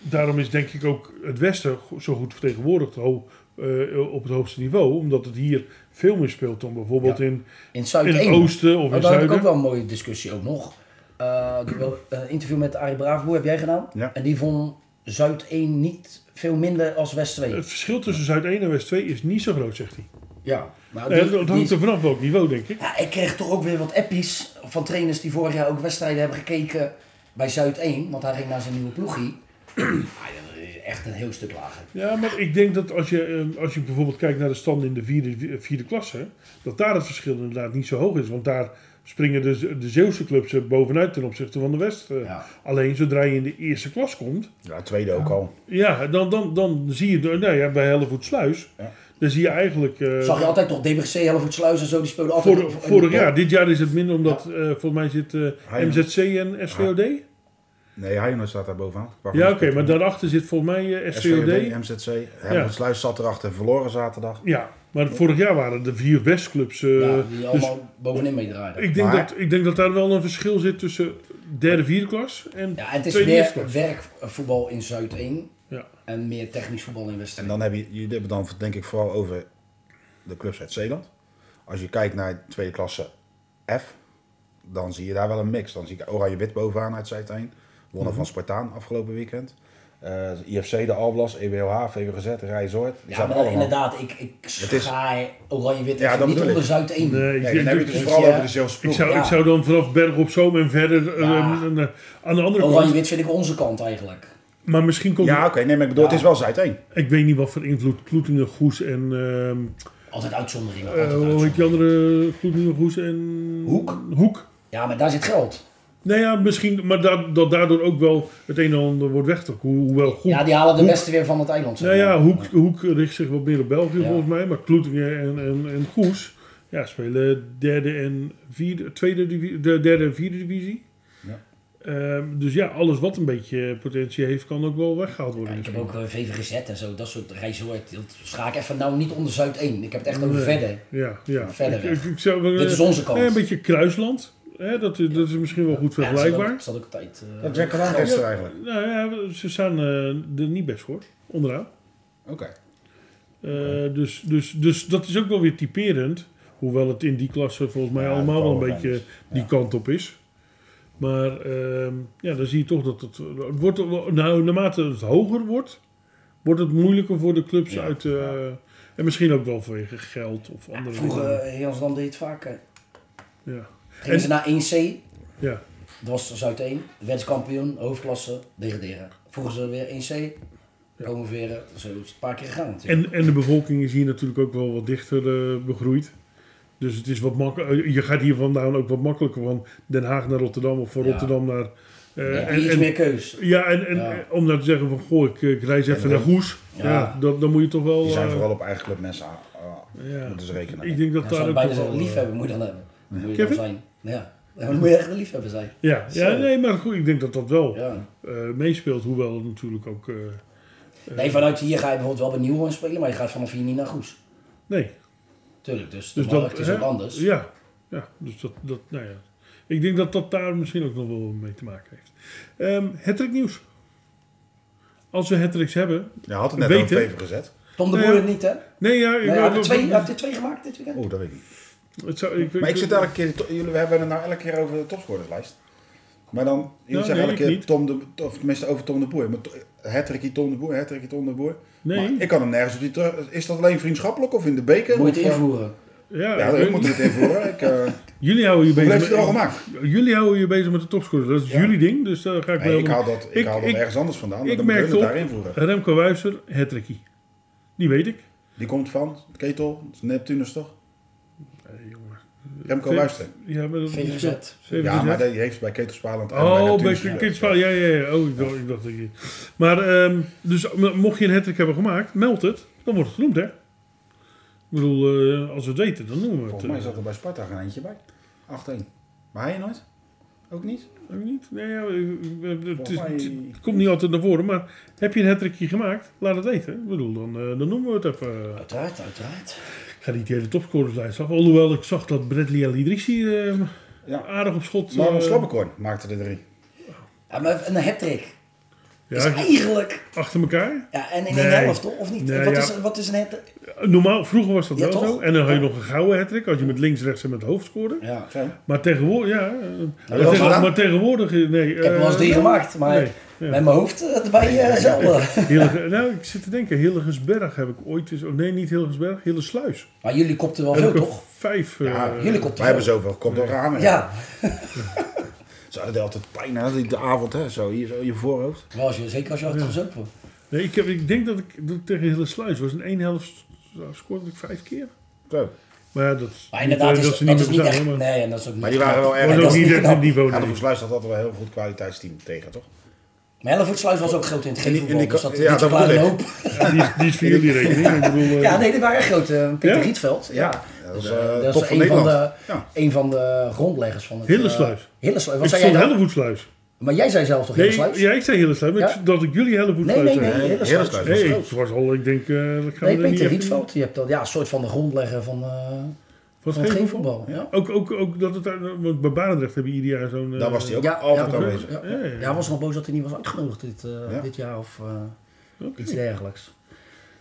daarom is denk ik ook het Westen go- zo goed vertegenwoordigd ho- eh, op het hoogste niveau. Omdat het hier veel meer speelt dan bijvoorbeeld
Ja.
in,
In het zuid
in het
één.
oosten of
Oh,
in
daar heb ik ook
zuiden.
wel een mooie discussie ook nog. Eh, ik heb wel een interview met Arie Braafboer heb jij gedaan.
Ja.
En die vond Zuid 1 niet veel minder als West 2.
Het verschil tussen Zuid-1 en West-2 is niet zo groot, zegt hij.
Ja. Nou,
Nee,
die-
dat
die
hangt
is-
er vanaf welk niveau, denk ik.
ja, ik kreeg toch ook weer wat appies van trainers die vorig jaar ook wedstrijden hebben gekeken bij Zuid 1. Want hij ging naar zijn nieuwe ploegie. Ah, ja, dat is echt een heel stuk lager.
Ja, maar ik denk dat als je, eh, als je bijvoorbeeld kijkt naar de standen in de vierde, eh, vierde klasse, dat daar het verschil inderdaad niet zo hoog is. Want daar springen de, Ze- de Zeeuwse clubs eh, bovenuit ten opzichte van de West. eh.
Ja.
Alleen zodra je in de eerste klas komt,
Ja, tweede ook al.
ja, dan, dan, dan zie je, de- nou ja, bij Hellevoetsluis,
Ja.
dan zie je eigenlijk... eh,
Zag je altijd toch DBC, Hellevoort Sluis en zo, die speelden altijd...
vor-
op-
vorig jaar, dit jaar is het minder, omdat eh, volgens mij zit eh,
Hij-
MZC en SVOD.
Nee, Heijnen staat daar bovenaan.
Ja, oké, maar daarachter zit volgens mij eh, SVOD.
SVD, MZC. Herman Sluis zat erachter. Verloren zaterdag.
Ja, maar vorig jaar waren de vier Westclubs. eh
Ja, die
dus
allemaal bovenin meedraaiden.
Ik denk,
Maar-
dat, ik denk dat daar wel een verschil zit tussen derde, vierde klas en
Ja, het is
tweede,
meer
eerste klas.
werkvoetbal in Zuid 1
Ja.
en meer technisch voetbal in West 2.
En dan heb je, jullie hebben dan denk ik vooral over de clubs uit Zeeland. Als je kijkt naar tweede klasse F, dan zie je daar wel een mix. Dan zie ik Oranje-Wit bovenaan uit Zuid-Eind. Wonnen
Mhm.
van Spartaan afgelopen weekend. Eh, IFC, de Alblas, E EWOH, VWGZ, Rijzoord. Die
Ja,
zaten
maar
allemaal.
inderdaad, ik, ik
is-
schaai oranje-wit
Ja,
even
dat
niet
bedoel
onder
ik.
Zuid-1.
Nee, ik,
Nee, dan
ik-
heb je het dus
Weet
vooral
je,
over de Zeeuwse
ik
ploeg.
zou,
ja.
ik zou dan vanaf Berg op Zoom en verder eh,
Ja.
en, eh, aan de andere kant.
Oranje-wit vind ik onze kant eigenlijk.
Maar misschien komt.
Ja, oké, nee, maar ik bedoel, het is wel Zuid-1.
Ik weet niet wat voor invloed Kloetingen, Goes en. ehm
Altijd uitzonderingen.
eh,
altijd
hoe heet die
uitzonderingen.
andere? Kloetingen, Goes en.
Hoek?
Hoek.
Ja, maar daar zit geld.
Nou ja, misschien, maar da- dat daardoor ook wel het een en ander wordt weggetrokken. Ho- Hoewel goed.
Ja, die halen de
Hoek-
beste weer van het eiland. zeg
Nou ja,
maar.
Hoek, Hoek richt zich wat meer op België
Ja.
volgens mij. Maar Kloetingen en, en, en Goes ja, spelen derde en vierde, tweede divi- de derde en vierde divisie.
Ja.
Ehm, dus ja, alles wat een beetje potentie heeft, kan ook wel weggehaald
Ja,
worden.
ik heb
misschien.
ook eh, VVGZ en zo, dat soort reizorg. Dat schaak ik even nou niet onder Zuid-1. Ik heb het echt over
Nee.
verder.
ja, ja.
Verder
Ik-
weg.
ik- ik zou-
Dit is onze kant.
Eh, Een beetje kruisland. Hè, dat, is- dat is misschien wel goed
Ja,
vergelijkbaar.
dat zat ook tijd. eh,
Dat Jack gedaan gisteren eigenlijk.
Nou ja, ze staan eh, er niet best voor, onderaan.
Oké.
Eh, dus, dus, dus dat is ook wel weer typerend. Hoewel het in die klasse volgens mij
Ja,
allemaal
het
wel een
kan
beetje
wel
die kant op is. Maar ehm, ja, dan zie je toch dat het, het wordt, wel- nou, naarmate het hoger wordt, wordt het moeilijker voor de clubs
Ja,
uit. eh, En misschien ook wel vanwege geld of andere dingen.
Vroeger, eh, Jansdam deed het vaker.
Ja.
Gingen
En-
ze naar 1C,
ja.
dat was Zuid-1. Werd kampioen, hoofdklasse, degraderen. Vroegen ze weer 1C, promoveren. Zo is het een paar keer gegaan natuurlijk.
En, en de bevolking is hier natuurlijk ook wel wat dichter eh, begroeid. Dus het is wat makkelijker. Je gaat hier vandaan ook wat makkelijker van Den Haag naar Rotterdam of van
Ja.
Rotterdam naar. eh,
Ja,
en-
iets
en-
meer keus.
Ja, en, en
Ja.
om nou te zeggen van, goh, ik, ik reis even
En
naar
dan-
Goes. Ja.
Ja.
dat, dan moet je toch wel...
Die zijn
eh,
vooral op eigen club mensen aan. ah,
ja.
moeten ze rekenen.
Ik denk dat
Ja,
daar
zou
ook
bijna
nog wel,
zeggen,
eh,
liefhebber moet je dan hebben. Moet je
Kevin?
dan zijn. Ja. Ja, dan moet je echt een liefhebber zijn.
Ja, ja,
Zo.
nee, maar goed, ik denk dat dat wel
Ja.
eh, meespeelt. Hoewel het natuurlijk ook... eh,
Nee, vanuit hier ga je bijvoorbeeld wel bij Nieuwhoorn spelen, maar je gaat vanaf hier niet naar Goes.
nee.
Tuurlijk, dus,
Dus
de markt
dat,
is
hè?
ook anders.
Ja, ja dus dat, dat, nou ja. Ik denk dat dat daar misschien ook nog wel mee te maken heeft. Ehm Hattrick nieuws. Als we Hattricks hebben...
Je had het net
Weten.
over even gezet.
Tom de
Nee,
Boer
ja.
het niet, hè? Nee,
Nee, ja... Ik,
hij had er
ik-
twee, hij heeft er twee gemaakt dit
Oh,
weekend.
Oeh, dat weet ik niet.
het zou, ik,
Maar ik zit elke keer, to- jullie hebben het nou elke keer over de topscorerslijst. Maar dan,
Nou,
jullie zeggen
nee,
elke keer
ik
Tom de, of tenminste over Tom de Boer. Maar to- Hattrickie Tom de Boer, Hattrickie Tom de Boer.
Nee.
Maar ik kan hem nergens op die terug. Is dat alleen vriendschappelijk of in de beker?
Moet je
Of,
het
eh,
invoeren.
Ja,
Ja,
ik
ik
weet
moet
niet.
het invoeren. Ik, eh
Jullie houden je
hoeveel
bezig
heeft hij er al
met-
gemaakt?
Jullie houden je bezig met de topscorers. Dat is
Ja.
jullie ding, dus daar ga ik
Nee,
wel...
ik haal dat, ik
Ik-
haal dat
ik-
ergens anders vandaan. maar
ik
dan moet
merk
jullie
op
daar invoeren.
Remco Wijzer, Hattrickie. Die weet ik.
Die komt van Ketel, Neptunus toch? Remco
Vind-
Luister.
Eh, Ja, maar dat
VVZ.
VVZ.
Ja, maar die heeft bij Ketel Spaland. en bij
Oh, bij
Neptunus
Kri-
gespeeld.
Kritisch Paal. Ja, ja, ja. Oh, ik dacht, ik dacht dat je... Maar, ehm, dus m- mocht je een hattrick hebben gemaakt, meld het. Dan wordt het genoemd, hè? Ik bedoel, eh, als we het weten, dan noemen we het.
Volgens mij
eh.
zat er bij Sparta geen eentje bij. 8-1. Maar hij nooit? Ook niet?
Ook niet? Nee, ja, eh, eh, het, is-
Volgens
het
mij-
komt niet altijd naar voren, maar heb je een hattrickje gemaakt? Laat het weten. Ik bedoel, dan, eh, dan noemen we het even.
Uiteraard, uiteraard.
Ik ga niet de hele topscorerslijst af. Alhoewel ik zag dat Bradley El Idrissi eh,
Ja.
aardig op schot...
Waarom
eh,
Slabbekorn maakte er drie.
Ja, maar een hat-trick is
ja,
eigenlijk...
achter elkaar.
Ja, en in
Nee.
één helft, toch? Of niet?
Nee,
wat,
ja.
is, wat is een hat-trick?
Normaal, vroeger was dat
Ja,
wel
toch?
zo. En dan had je
Ja.
nog een gouden hattrick als je met links, rechts en met het hoofd scoorde.
Ja.
Zo.
Maar tegenwoordig, ja. eh, maar,
wel
tegen-
gedaan.
maar tegenwoordig, eh, nee.
Ik heb er wel eens drie gemaakt, maar
nee, ja.
met mijn hoofd eh, erbij eh, zelden.
nou, ik zit te denken, Hillegersberg heb ik ooit eens... Oh, nee, niet Hillegersberg, Hillersluis.
Maar jullie kopten wel
Heb
veel,
ik er
toch?
vijf...
Ja,
eh,
Jullie kopten
Wij hebben
veel.
zoveel. Komt door ramen.
Ja,
Ze hadden altijd pijn na die de avond, hè? Zo, hier, zo, je voorhoofd.
Wel, als je, zeker als je had gezopen.
nee, ik, heb, ik denk dat ik dat tegen Hillersluis was. In één helft nou, scoorde ik vijf keer.
Zo.
Maar ja, dat,
Maar inderdaad,
eh,
is, dat, is
meer
niet
bestaan,
echt...
hoor, maar-
Nee, en dat is ook niet
Maar die waren wel
knap.
erg-
Nee,
Maar
dat
dat is niet echt
knap.
het niveau.
Ja, de
nee.
Voersluis had altijd wel een heel goed kwaliteitsteam tegen, toch?
Maar Hellevoetsluis was ook groot in het
In die- in die
gevoetbal, dus dat
ka- ja,
niet
dat
verklaart
bedoel
een
ik.
Ja,
hoop.
die, is- die is voor jullie rekening. Ik bedoel, eh,
Ja, nee, die waren echt groot. eh, Peter
Ja?
Rietveld. Ja.
dat was
Eh,
eh
dat
top
is
van
een van,
Nederland.
de,
Ja.
een van de grondleggers van het... eh,
Hillersluis.
Hillersluis.
ik
Wat zei
stond
jij dan?
Hellevoetsluis.
Maar jij zei zelf toch
Nee,
Hillersluis?
ja, ik zei Hellevoetsluis, maar
Ja?
ik- dat ik jullie
Nee,
Hellevoetsluis
nee, nee.
zei.
Nee,
Hillersluis.
Hillersluis was
Nee,
groot.
het was al, ik denk, eh dat gaan
Nee,
we er niet
Peter
echt-
Rietveld. Die hebt dat, ja, een soort van de grondlegger van, eh
Van
van
het
het
geen
gevoetbal. Ja.
Ook, ook, ook dat het, daar- want bij Barendrecht hebben we ieder jaar zo'n... eh,
Daar was hij ook
Ja,
altijd
ja.
aanwezig.
Ja,
Ja, ja, ja.
ja, was nog boos dat hij niet was uitgenodigd dit, eh,
Ja.
dit jaar of eh,
Oké.
iets dergelijks.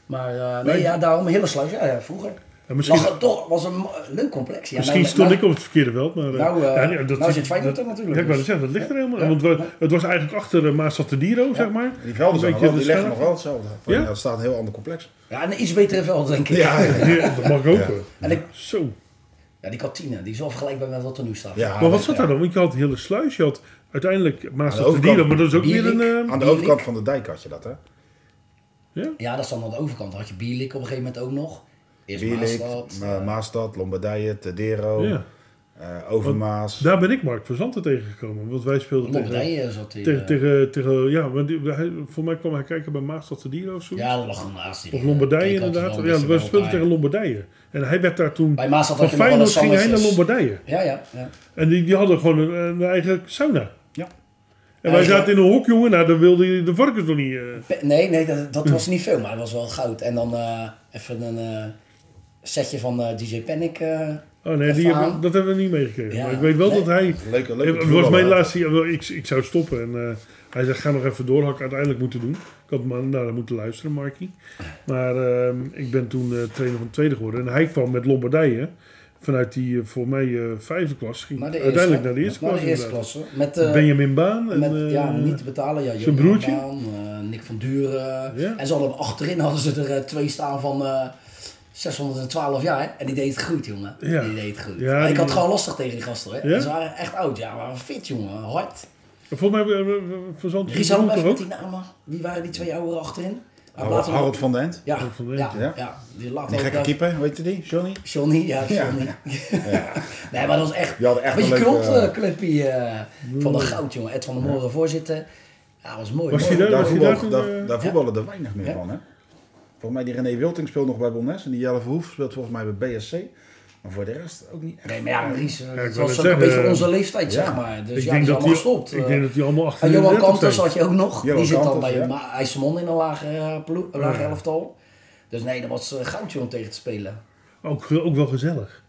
Maar eh, nee,
Nee.
Nou, ja, daarom Hillersluis. Ja, ja, vroeger.
En misschien
Lag het toch, was een mo- leuk complex. Ja,
misschien
nou,
stond
nou-
ik op het verkeerde veld. Maar, eh,
nou, eh,
ja,
nou zit Feyenoord er natuurlijk,
Ja, ik wou
dus.
zeggen, dat ligt er helemaal.
Ja.
Want we- het was eigenlijk achter uh, Maas Diro, zeg maar.
Die velden zijn
Een beetje
nog wel, die
de
leggen nog
schaar.
wel hetzelfde.
Ja?
Ja? Dat staat een heel ander complex.
Ja, een iets betere veld, denk ik.
Ja, ja.
Ja, dat mag ik ook.
Ja.
hoor.
En ik,
Zo.
ja, die kantine, die is wel vergelijkbaar met wat er nu staat.
ja
Maar wat zat daar dan? Want je had het hele sluis. Je had uiteindelijk Maas
Aan de overkant.
Diro, maar dat is ook weer een...
Bierik.
eh,
Aan de
Die
overkant
link.
van de dijk had je dat, hè?
Ja, dat is dan aan de overkant. Dan had je Bierlik op een gegeven moment ook nog. Eerst
Bierlik,
Maasstad.
Ma- eh, Maastad, Lombardije, Tedero,
ja.
eh, Overmaas.
Daar ben ik Mark Verzanten tegengekomen. Want wij speelden tegen...
Lombardije zat hij.
Tegen,
eh,
tegen, tegen, ja, want die- hij- voor mij kwam hij kijken bij Maas Diro of zo.
Ja, dat lag hem naast die.
Of Lombardije
Kijk, dat is
inderdaad.
wel
Ja,
een
we
beetje bij
speelden
elkaar.
tegen Lombardije. En hij werd daar toen...
Bij Maas had
Van
je nog wel
Feyenoord
een
ging hij naar
Sanchez's.
Lombardije.
Ja, ja. ja.
En die, die hadden gewoon een, een eigen sauna.
Ja.
En wij
Ja,
zaten in een hok, jongen. Nou, dan wilde je de varkens nog niet... eh.
Pe- Nee, nee dat,
Hm.
dat was niet veel, maar dat was wel goud. En dan eh, even een eh, setje van eh, DJ Panic. eh.
Oh nee, die
Even
hebben-
aan.
dat hebben we niet meegekregen.
Ja.
Maar ik weet wel
Nee.
dat hij...
Leuke, leuke
Het was
voetballer,
mijn
hè?
laatste... ja, wel, Ik, ik zou stoppen. En eh, hij zei, ga nog even door. Had ik uiteindelijk moeten doen. Ik had maar naar hem moeten luisteren, Markie. Maar ehm, ik ben toen eh, trainer van de tweede geworden. En hij kwam met Lombardije. Vanuit die, eh, voor mij, eh, vijfde klas. Ging
Maar de eerste,
uiteindelijk naar de eerste
naar
klas.
de eerste
inderdaad.
klasse. Met, eh,
Benjamin Baan. En,
met ja,
eh,
niet te betalen. Ja,
zijn
Johan
broertje?
Baan, eh, Nick van Duren.
Ja.
En ze hadden achterin hadden ze er eh, twee staan van eh, 612 jaar. En die deed het goed, jongen.
Ja.
Die deed het goed.
Ja,
Maar ik
die-
had het gewoon lastig tegen die gasten. Hè.
Ja?
Ze waren echt oud. Ja, maar fit, jongen. Hard.
Volgens mij hebben we- we- we- verzand
Rizal,
Rizal
even
toch
met
ook?
die namen. Wie waren die twee ouderen achterin? Maar
Harold,
laten we-
Harold van den End.
Ja,
Harold van
ja,
Dijk,
ja.
ja.
Die lacht
Die
ook
gekke
wel.
keeper, weet je die? Johnny?
Johnny, ja, Johnny. nee, maar dat was echt,
Die hadden echt
een beetje
een leuke,
klopt,
eh,
clubje eh, van de goud, jongen. Ed van der Moren voorzitter. Ja, dat was mooi.
Was
mooi.
hij Ja,
daar,
was hij
voetbal,
daar toen,
daar,
eh,
daar voetballen er weinig meer
Ja.
van, hè? Volgens mij die René Wilting speelt nog bij Bonnes en die Jelle Verhoef speelt volgens mij bij BSC. Maar voor de rest ook niet echt.
Nee, maar ja, Ries, eh,
ik wou
het was
net
ook een
zeggen,
beetje
eh,
onze leeftijd,
ja.
zeg maar. Dus
Ik denk
ja, die
dat
is allemaal
die-
gestopt.
Ik
eh.
denk dat die allemaal
en
achter
Johan Kanters had je ook nog.
Johan
die zit dan
Kanters, ja.
bij het Ma- IJsselmond in een lager eh, plo- een lager
Ja.
elftal. Dus nee, dat was eh, goud, jongen, tegen te spelen.
Ook, eh, ook wel gezellig.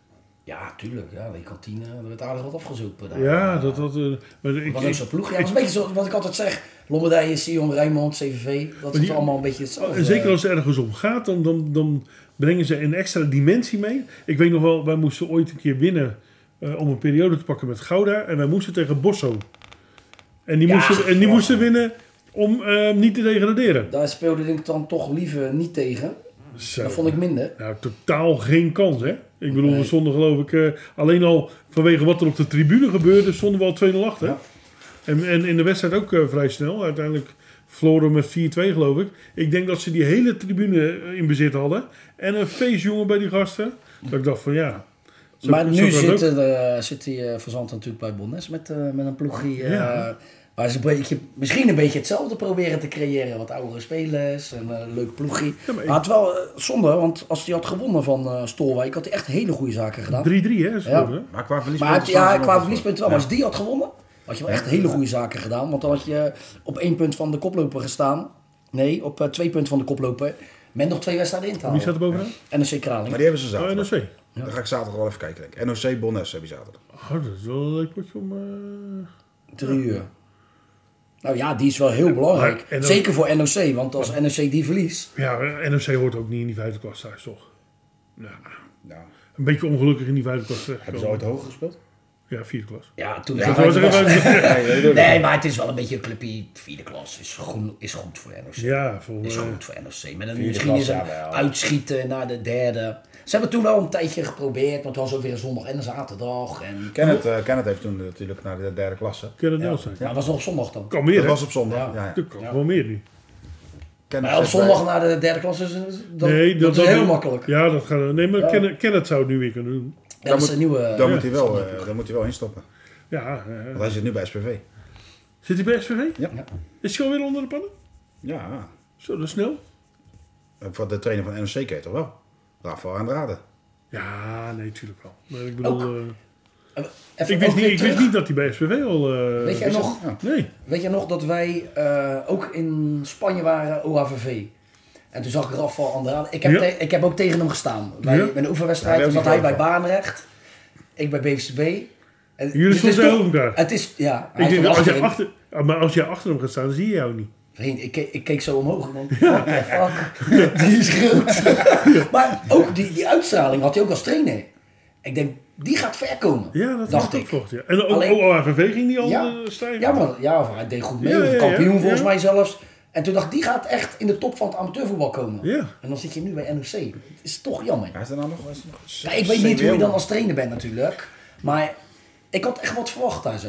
Ja, tuurlijk. Ja, die kantine, eh, er werd aardig wat afgezopen. daar.
Ja, dat had... eh, maar ik,
Dat was ook
ik-
zo'n ploeg. Ja, dat is een beetje zo, wat ik altijd zeg. Lombardije, Sion, Rijnmond, CVV. Dat is
die- Oh,
allemaal een beetje hetzelfde.
en zeker als het ergens om gaat, dan, dan, dan brengen ze een extra dimensie mee. Ik weet nog wel, wij moesten ooit een keer winnen eh, om een periode te pakken met Gouda. En wij moesten tegen Bosso. En die,
Ja,
moesten, en die
ja.
moesten winnen om eh, niet te degraderen.
Daar speelde ik dan toch liever niet tegen.
Zo.
Dat vond ik minder.
Nou, totaal geen kans, hè? Ik bedoel,
Nee.
we stonden geloof ik eh, alleen al vanwege wat er op de tribune gebeurde, stonden we al 2-0 achter. En, en in de wedstrijd ook eh, vrij snel. Uiteindelijk verloren we met 4-2, geloof ik. Ik denk dat ze die hele tribune eh, in bezit hadden. En een feestjongen bij die gasten. Dat ik dacht van ja. zo-
maar
zo
nu
kan
zit,
het ook.
eh, zit die eh, Verzand natuurlijk bij Bonnes met, eh, met een ploegie. eh,
Ja.
Waar ze een beetje, misschien een beetje hetzelfde proberen te creëren. Wat oudere spelers, een eh, leuk ploegie.
Ja, maar
maar
ik-
het wel eh, zonde, want als hij had gewonnen van eh, Stolwijk, had hij echt hele goede zaken gedaan.
3-3, hè? ze
Ja.
scoren, hè?
Maar qua
Maar
verliespunten...
het- ja,
staan ze
qua
nog
verliespunten wel.
voor.
Maar als die had gewonnen, had je wel echt hele goede zaken gedaan. Want dan had je op één punt van de koploper gestaan. Nee, op eh, twee punten van de koploper. Met nog twee wedstrijden in te
Wie
halen.
staat er bovenaan?
En een Kraling.
Maar die hebben ze
Oh,
zaterdag.
NOC.
Dan ga ik zaterdag wel even kijken, denk ik. NOC Bonnes heb je zaterdag.
Oh, dat is wel een leuk potje om... eh,
Drie uur. Nou ja, die is wel heel belangrijk.
en dan-
Zeker voor NOC, want als NOC die verliest.
Ja, eh, NOC hoort ook niet in die vijfde klas thuis, toch? Nou,
Nou,
een beetje ongelukkig in die vijfde klas terecht.
hebben ze ooit hoger gespeeld?
Ja, vierde klas.
Ja, toen
Dat was er
was.
even-
Nee,
Nee, maar het is wel een beetje een clubje. Vierde klas is, groen, is goed voor NOC.
Ja,
Is
volgens mij.
goed voor NOC. Met een,
Vierde
misschien
klas,
is een
ja, wel.
uitschieten naar de derde. Ze hebben toen al een tijdje geprobeerd, want het was ook weer een zondag en een zaterdag. En...
Kenneth, eh, Kenneth heeft toen natuurlijk naar de derde klasse.
Kunnen het wel zijn.
Ja, dat was nog op zondag dan.
Kan meer,
Dat
hè?
was op zondag. Ja. ja.
Er kan gewoon meer nu.
Kenneth
Maar op
zegt bij-
zondag naar de derde klas is dat,
Nee,
dat, is heel makkelijk. Ja,
Ja, dat gaat... Nee, maar Ken- Kenneth zou het nu weer kunnen doen.
dat is een nieuwe...
Dan, moet hij wel, eh, dan moet hij wel instappen.
Ja, eh,
Want hij zit nu bij SPV.
Zit hij bij SVV?
Ja.
Ja.
Is hij alweer onder de pannen?
Ja.
Zo, dat is snel.
En Eh, Voor de trainer van NOC ken je toch wel? Rafael Andrade.
Ja, nee, tuurlijk wel. Maar ik bedoel... eh,
Even
ik, wist
ook
niet,
weer
ik
terug.
wist niet dat hij bij SVV al... eh,
Weet jij
is-
nog,
Nee.
weet jij nog dat wij eh, ook in Spanje waren, OHVV? En toen zag ik Rafael Andrade. Ik heb,
Ja.
te- ik heb ook tegen hem gestaan. Bij,
Ja.
Bij de
Ja,
oefenwedstrijd
daar
zat
heb
hij
ik
bij
ook van.
Baanrecht. Ik bij BVCB. En, dus
Jullie
het is
stonden
toch-
over elkaar.
Het is, ja. hij
Ik
stond
denk, als jij
achterin.
achter, ah, maar als jij achter hem gaat staan, zie je jou niet.
Vriend, ik, ke- ik keek zo omhoog. Ik denk, what the fuck, die is groot. maar ook die, die uitstraling had hij ook als trainer. Ik denk, die gaat ver komen.
Ja, dat
dacht
was
ik.
Vocht, ja. En ook oh,
Alleen-
OAVV ging die al
Ja,
eh, stijgen.
ja, maar, ja, of hij deed goed mee.
Ja,
of
ja,
kampioen
ja.
volgens
Ja.
mij zelfs. En toen dacht ik, die gaat echt in de top van het amateurvoetbal komen.
Ja.
En dan zit je nu bij NOC. Dat is toch jammer.
Waar is er nou nog? Waar is er nog?
Ja, ik weet niet hoe je dan als trainer bent natuurlijk. Maar ik had echt wat verwacht daar zo.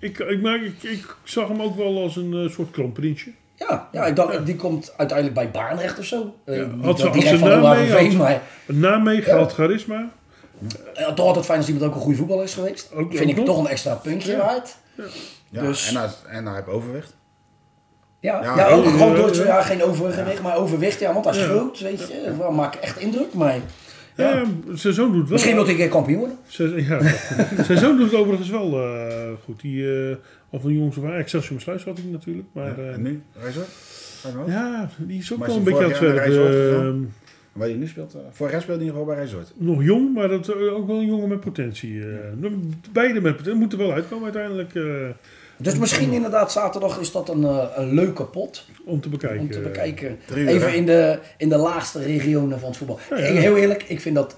Ik, ik, maar ik, ik zag hem ook wel als een eh, soort kroonprinsje.
Ja, ja, ik dacht, die komt uiteindelijk bij Baanrecht of zo. Eh, niet
Had ze,
dat
had ze
direct van
naam
OHV,
mee, had,
maar
een naam mee gehad, charisma.
eh, toch altijd fijn als iemand ook een goede voetballer is geweest.
Ook-
Vind
ook
ik
nog.
toch een extra puntje waard.
Ja,
Dus-
en, hij, en hij heeft overwicht.
Ja, ja,
Ja,
ook
eh,
gewoon door,
eh,
ja, geen overgewicht, maar overwicht. Ja, want hij is groot, weet je. Dat maakt echt indruk, maar...
Ja, zijn zoon doet wel.
Misschien wil hij een keer kampioen worden.
Zijn, ja, zijn zoon doet het overigens wel eh, goed. Die, eh, al van jongens waar Excelsior Sluis had hij natuurlijk. Maar eh,
En nu? Reizer? Ga je nog?
ja, die is ook
Maar
wel een
is
beetje eh, aan
hij
het
vorig jaar naar
zwerven.
Rijswijk Waar je nu speelt? eh, Vorig jaar speelde hij nog wel bij Rijzoord.
Eh, nog jong, maar dat, eh, ook wel een jongen met potentie. eh. Beide met potentie. Moeten wel uitkomen uiteindelijk eh,
Dus misschien inderdaad zaterdag is dat een, eh, een leuke pot
om te bekijken.
om te bekijken.
Drie uur,
Even
hè?
in de, in de laagste regionen van het voetbal. Ik- Heel eerlijk, ik vind dat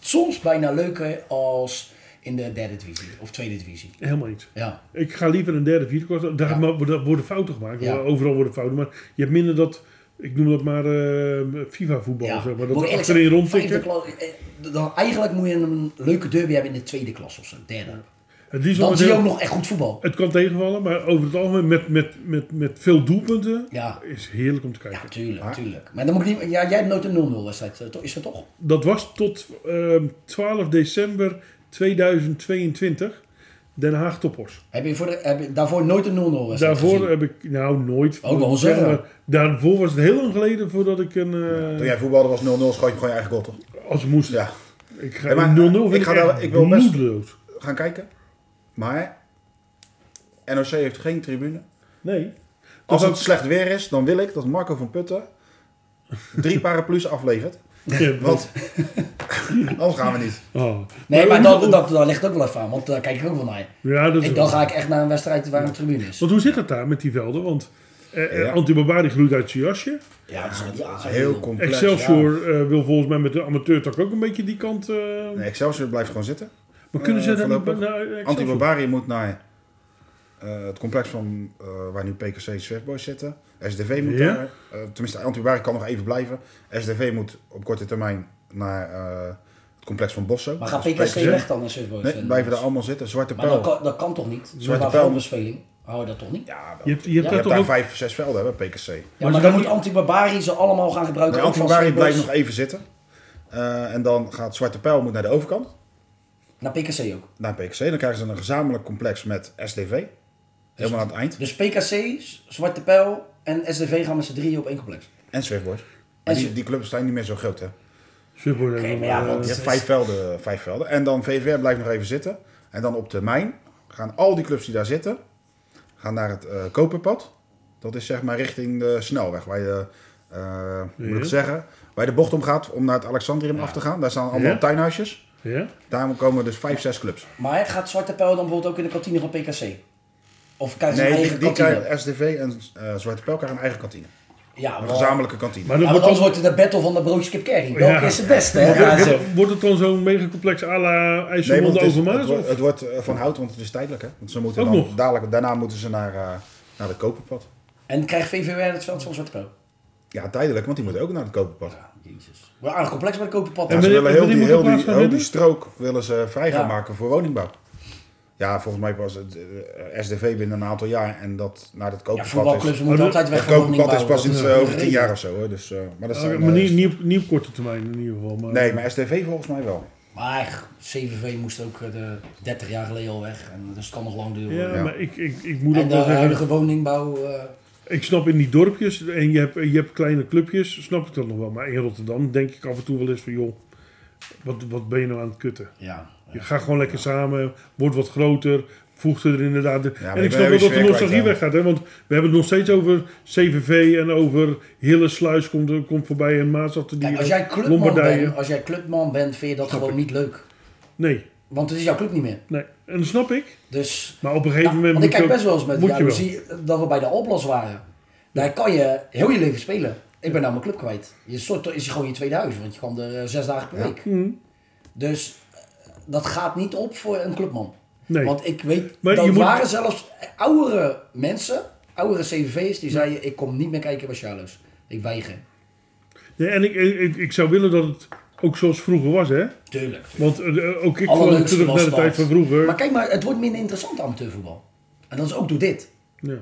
soms bijna leuker als in de derde divisie of tweede divisie.
Helemaal iets.
Ja,
Ik ga liever een derde, vierde kwart. Daar
Ja.
ma- daar worden fouten gemaakt.
Ja.
Overal worden fouten. Maar je hebt minder dat, ik noem dat maar eh, FIFA-voetbal.
ja.
Zeg maar,
Moet
dat
ik eerlijk
achterin
zeggen,
rondtikken.
vijfde klas- eh, dan Eigenlijk moet je een leuke derby hebben in de tweede klas of zo, derde.
Het liefst
Dan
wel
zie je
heel-
ook nog echt goed voetbal.
Het kan tegenvallen, maar over het algemeen met, met, met, met veel doelpunten
Ja.
is heerlijk om te kijken.
Ja, tuurlijk,
Ah.
tuurlijk. Maar dan moet ik niet, ja, jij hebt nooit een 0-0 wedstrijd, eh, toch? is dat toch?
Dat was tot ehm, 12 december 2022 Den Haag Toppos.
Heb je, voor de, heb je daarvoor nooit een 0-0 wedstrijd gezien?
Daarvoor heb ik, nou nooit,
Ook wel
moet ik zeggen,
zeggen.
maar daarvoor was het heel lang geleden voordat ik een, eh,
Toen jij voetbalde was 0-0, schoot je gewoon je eigen goal toch?
als het moest,
Ja.
ik ga
Ja, maar
0-0 vind
ik
ik,
ga
echt
wel- ik wil best-
bloedeloos.
Gaan kijken. Maar NOC heeft geen tribune.
Nee.
Als
Dat
het slecht weer is, dan wil ik dat Marco van Putten drie paraplu's aflevert.
Ja,
Want anders gaan we niet.
oh.
Nee, maar
hoe-
dat, dat, dat ligt ook wel even aan, want daar kijk ik ook wel naar.
ja, dat is
Ik,
wel-
dan ga ik echt naar een wedstrijd waar een tribune is.
Want hoe zit het daar met die velden? Want eh, eh,
Ja.
Antibarbari groeit uit zijn jasje.
Ja, dat is, ja,
Dat is heel complex.
Ah, Excelsior eh, wil volgens mij met de amateurtak ook een beetje die kant. eh,
Nee, Excelsior blijft gewoon zitten.
maar kunnen ze
eh,
dan niet
voorlopig.
naar Excelsior?
Anti-Barbarië moet naar eh, het complex van, eh, waar nu PKC Zwerfboys zitten. SDV moet
Ja.
daar. eh, tenminste, Anti-Barbarië kan nog even blijven. SDV moet op korte termijn naar eh, het complex van Bosso.
Maar gaat
Dus
PKC weg dan eh, naar Surfboard?
Nee, blijven daar allemaal zitten. Zwarte
Maar dat
Pijl.
kan, dat kan toch niet?
Zwarte
Zonder
pijl.
voorbespeling hou je dat toch niet? Ja,
Ja, wel.
Je hebt, je hebt
Ja.
Je
daar
hebt
toch
daar
ook.
vijf, zes velden hè, bij PKC.
maar dan,
dan
moet
niet-
Antibarbarie ze allemaal gaan gebruiken.
Nee,
ook van
Anti-Barbarië blijft
Surfboards
nog even zitten. Eh, en dan gaat Zwarte Pijl moet naar de overkant.
Naar PKC ook.
Naar PKC. Dan krijgen ze een gezamenlijk complex met SDV. Helemaal aan het eind.
Dus PKC, Zwarte Pijl en SDV gaan met z'n drieën op één complex.
En Zwerfboys. Maar
En
die,
Zwe-
die clubs zijn niet meer zo groot, hè?
Zwerfboy
Oké,
hebben
maar ja,
we,
want-
Je
eh,
hebt vijf velden, vijf velden. En dan VVR blijft nog even zitten. En dan op termijn gaan al die clubs die daar zitten... gaan naar het eh, Koperpad. Dat is zeg maar richting de snelweg. Waar je, eh, hoe moet ik het
Ja.
zeggen... waar je de bocht om gaat om naar het Alexandrium af te gaan. Daar staan allemaal
Ja.
tuinhuisjes.
ja?
Daar komen dus vijf, zes clubs.
Maar gaat Zwarte Pijl dan bijvoorbeeld ook in de kantine van PKC? Of krijgen ze een
Nee,
eigen
die, die
kantine?
krijgen SDV en eh, Zwarte Pijl krijgen een eigen kantine.
Ja,
Een
maar-
gezamenlijke kantine.
Maar
Ja,
dan
maar
wordt,
anders
dan,
wordt het de battle van de broodjes kip curry. Welke
Ja.
is het beste, hè? Ja,
wordt,
zo.
het, wordt het dan zo'n megacomplex à la IJsselmond
want het, is- het,
Overmaas?
wordt,
of?
het wordt eh, van hout, want het is tijdelijk. Hè? Want ze moeten
Ook
dan,
nog.
dadelijk, daarna moeten ze naar, eh, naar het koperpad.
En krijgt VVW het veld van Zwarte Pijl?
Ja, tijdelijk, want die moeten ook naar het koperpad. Ja,
Jezus. Wat een aardig complex bij Kopenpad.
En
ze
wanneer-
willen heel
wanneer
die,
moet
heel,
de plaats
die,
gaan
heel die
winnen?
strook willen ze vrij gaan
Ja.
maken voor woningbouw. Ja, volgens mij was het eh, SDV binnen een aantal jaar en dat naar het
Ja,
koperpad
voetbalclubs
is.
moeten
dat-
altijd weg
Het
van woning
koperpad is pas
bouwen.
iets
Dat
eh,
is
over
een
tien
reden.
jaar of zo. Hoor. Dus, eh, maar dat
Ah,
zijn, eh,
maar niet, niet, op, niet op korte termijn in ieder geval. Maar,
nee, maar SDV volgens mij wel.
Maar CVV moest ook eh, de 30 jaar geleden al weg. En dus het kan nog lang duren.
ja,
Ja.
maar ik, ik, ik moet
en
ook
de
wel zeggen.
huidige woningbouw. eh,
Ik snap in die dorpjes en je hebt, je hebt kleine clubjes, snap ik dat nog wel. Maar in Rotterdam denk ik af en toe wel eens van joh, wat, wat ben je nou aan het kutten?
ja.
Je gaat gewoon lekker samen, wordt wat groter, voegt er inderdaad. de-
maar
en ik
ik ben
snap wel
weer
dat de
sfeer
nostalgie
kwijt, hè.
weggaat, hè? want we hebben het nog steeds over CVV en over Hillesluis komt, er- komt voorbij en Maasachterdier.
Kijk, als jij clubman
Lombardijen.
bent, als jij clubman bent, vind je dat gewoon niet leuk.
Nee,
Want het is jouw club niet meer.
nee. En dat snap ik.
Dus.
Maar op een gegeven
Nou,
moment
want ik
moet je
kijk
ook-
best wel eens met
moet
ja,
je
dan
wel.
zie je dat we bij de oplos waren. Daar kan je heel je leven spelen. Ik ben nou mijn club kwijt. Je soort is gewoon je tweede huis, want je kwam er eh, zes dagen per week.
Mhm.
Dus eh, dat gaat niet op voor een clubman.
Nee.
Want ik weet,
Maar
dat
je moet-
waren zelfs oudere mensen, oudere CVV'ers, die zeiden ik kom niet meer kijken bij Charlo's. Ik weiger.
Nee, en ik, ik, ik zou willen dat het ook zoals vroeger was, hè?
Tuurlijk.
Want eh, ook ik kwam
Allerleukste
terug naar
was
de
dat.
tijd van vroeger.
Maar kijk maar, het wordt minder interessant amateurvoetbal. En dat is ook door dit.
Ja.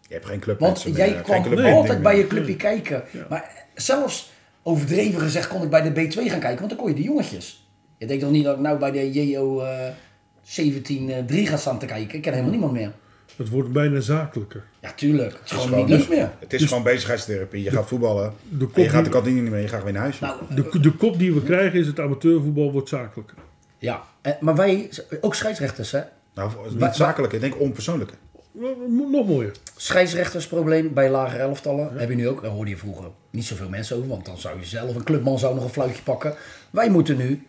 Je hebt geen club.
Want jij kwam altijd bij je clubje kijken. Maar zelfs overdreven gezegd kon ik bij de B2 gaan kijken, want dan kon je de jongetjes. Je denkt toch niet dat ik nou bij de JO eh 17-3 ga staan te kijken? Ik ken helemaal niemand meer.
Het wordt bijna zakelijker.
Ja, tuurlijk. Het
Het
is
is,
gewoon niet
gewoon,
leuk meer.
het is gewoon bezigheidstherapie. Je gaat voetballen. en
Dus kop-
je gaat de kantine niet meer. Je gaat weer naar huis.
Nou,
De, de kop die we krijgen is het amateurvoetbal wordt zakelijker.
ja. Eh, Maar wij, ook scheidsrechters, hè?
nou, niet zakelijke. Ik denk onpersoonlijke.
Nog mooier.
Scheidsrechtersprobleem bij lagere elftallen. Heb je nu ook. Daar hoorde je vroeger niet zoveel mensen over. Want dan zou je zelf, een clubman zou nog een fluitje pakken. Wij moeten nu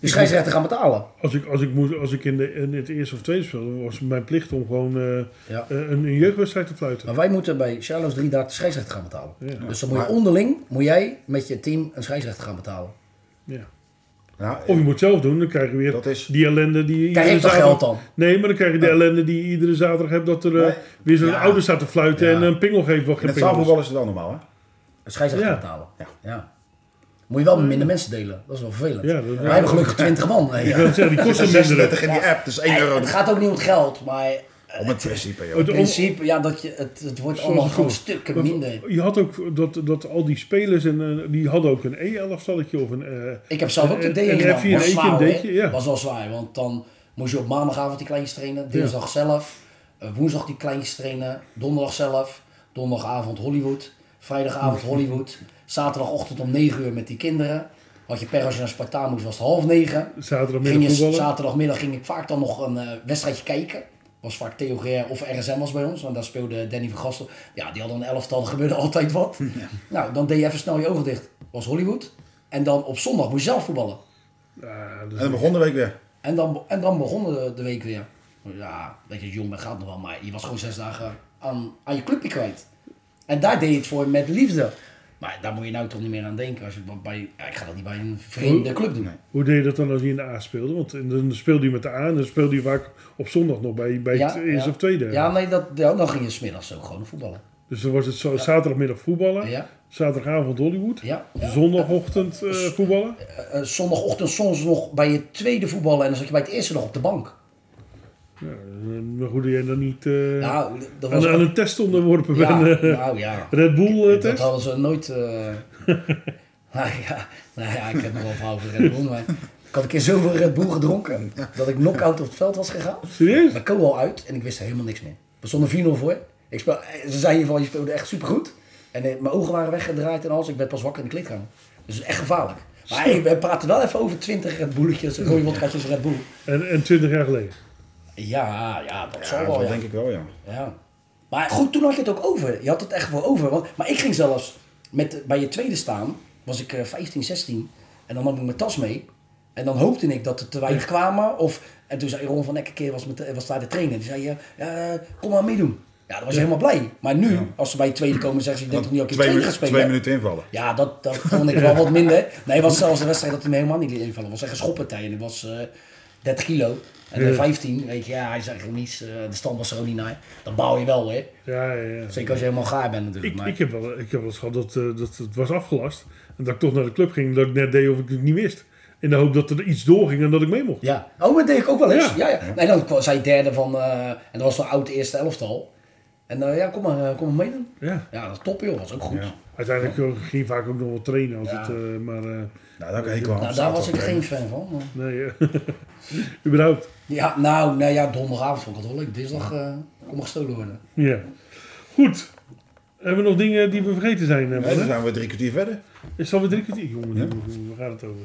de scheidsrechter gaan betalen.
Als ik, als ik, moest, als ik in, de, in het eerste of tweede speelde, was het mijn plicht om gewoon eh,
Ja.
eh, een, een jeugdwedstrijd te fluiten.
Maar wij moeten bij Charlo's drie dagen de scheidsrechter gaan betalen. Dus dan moet je onderling, moet jij met je team een scheidsrechter gaan betalen.
Ja.
Nou,
Of je moet het zelf doen, dan krijg je weer
Dat is-
die ellende die je
Krijg
iedere
ik toch
zaterdag-
geld dan?
Nee, maar dan krijg je de ellende die je iedere zaterdag hebt dat er eh,
Nee.
weer zo'n
Ja.
ouder staat te fluiten
Ja.
en een pingel geeft wat
in
geen pingel
het
is.
zaalvoetbal is het wel normaal, hè?
Een scheidsrechter
Ja.
betalen. Ja. Moet je wel met minder mensen delen. Dat is wel vervelend.
Ja, dat-
Wij hebben gelukkig 20 man. hè.
Ik wil het zeggen, die kosten minder.
36 in die app, dus 1
Hey,
euro.
het gaat ook niet om het geld, maar
Om het principe, joh.
Het-
in principe, ja, dat je, het, het wordt allemaal
het
gewoon
was.
stukken
Want
minder.
Je had ook dat, dat al die spelers, en, eh, die hadden ook een E-elftalletje of een... eh,
Ik heb zelf ook de
En-
D
en
gedaan. Dat
F4 en
was
E'tje en
zwaar, hoor.
D'tje, ja.
was wel zwaar, want dan moest je op maandagavond die kleintjes trainen, dinsdag zelf, eh, woensdag die kleintjes trainen, donderdag zelf, donderdagavond Hollywood, vrijdagavond Hollywood, zaterdagochtend om 9 uur met die kinderen. Had je per als je naar Spartaan moest was het half negen. Ging
zaterdagmiddag
je,
voetballen.
zaterdagmiddag ging ik vaak dan nog een eh, wedstrijdje kijken. Was vaak Theo Geer of RSM was bij ons, want daar speelde Danny van Gastel. Ja, die hadden een elftal, er gebeurde altijd wat. Nou, dan deed je even snel je ogen dicht. Was Hollywood. En dan op zondag moest je zelf voetballen.
Ja, dus dat
En
is-
dan begon de week weer.
En dan, en dan begon de, de week weer. Ja, weet je, jong ben gaat nog wel, maar je was gewoon zes dagen aan, aan je clubje kwijt. En daar deed je het voor met liefde. Maar daar moet je nou toch niet meer aan denken. Als je bij- bij, ja, ik ga dat niet bij een vreemde club doen.
Hoe deed je dat dan als je in de A speelde? Want in- dan speelde je met de A en dan speelde je vaak op zondag nog bij, bij het eerste of tweede.
Ja, nee, dat, ja, dan ging je smiddags ook gewoon voetballen.
Dus dan was het zo, zaterdagmiddag voetballen,
Ja.
zaterdagavond Hollywood,
Ja.
zondagochtend eh, voetballen.
Eh, eh, zondagochtend soms nog bij je tweede voetballen en dan zat je bij het eerste nog op de bank.
Ja, eh, maar hoe deed jij dan niet eh,
Nou, dat was
aan, aan een test onderworpen?
ja,
bent, eh,
nou ja.
Red Bull eh,
Dat
test?
hadden ze nooit. eh nou, ja, nou ja, ik heb nog wel een verhaal over Red Bull, maar ik had een keer zoveel Red Bull gedronken dat ik knock-out op het veld was gegaan.
Serieus?
Mijn kool uit en ik wist er helemaal niks meer. We stonden 4-0 voor. Ik speel, eh, ze zeiden van je speelde echt supergoed. En eh, mijn ogen waren weggedraaid en alles. Ik werd pas wakker in de kleedkamer. Dus het is echt gevaarlijk. Maar hey, we praten wel even over 20 Red Bulletjes, rode wodkaatjes Red Bull.
En, en 20 jaar geleden.
Ja, ja, dat
Ja,
zal wel.
dat
ja.
denk ik wel, ja.
Ja. Maar goed, toen had je het ook over. Je had het echt voor over. Want, maar ik ging zelfs met, bij je tweede staan, was ik eh, 15, 16. En dan nam ik mijn tas mee. En dan hoopte ik dat er te weinig kwamen. Of, en toen zei Ron van Ekke keer was, met, was daar de trainer. Die zei, eh, eh, kom maar meedoen. Ja, dan was je helemaal blij. Maar nu, als ze bij je tweede komen, zeggen ze, je denkt toch niet dat je
Twee,
tweede
minu-
gaat spelen.
twee minuten invallen.
Ja, dat, dat vond ik wel wat minder. Nee, het was zelfs de wedstrijd dat hij me helemaal niet liet invallen. Het was echt een schoppartij. En het was eh 30 kilo. En de 15, weet je, ja, hij zag er niets. eh, de stand was er ook niet naar. Dan bouw je wel, hè.
Ja, ja, ja.
Zeker als je helemaal gaar bent natuurlijk.
Ik,
maar...
ik, heb wel, ik heb wel eens gehad dat, eh, dat het was afgelast. En dat ik toch naar de club ging. Dat ik net deed of ik het niet wist. In de hoop dat er iets doorging en dat ik mee mocht.
Ja. Oh, dat deed ik ook wel eens.
Ja.
Ja. Ja, Nee, dan kwam- zei derde van... eh, en dat was een oud eerste elftal. En eh, ja, kom maar, eh, kom maar meedoen.
Ja.
Ja, dat is top, joh. Dat was ook goed. Nou,
Uiteindelijk eh, ging je vaak ook nog wel trainen. Als
Ja.
het, eh, maar eh,
Nou, daar kan ik wel
Nou, daar was ik geen fan van. maar-
nee, eh, überhaupt.
Ja, nou, nou ja, donderdagavond vond ik het wel leuk. Dinsdag eh kon me gestolen worden.
Ja. Goed. Hebben we nog dingen die we vergeten zijn? eh,
Nee,
mannen?
dan zijn we drie kwartier verder.
Is het alweer drie kwartier? Jongen, jongen, waar gaat het over?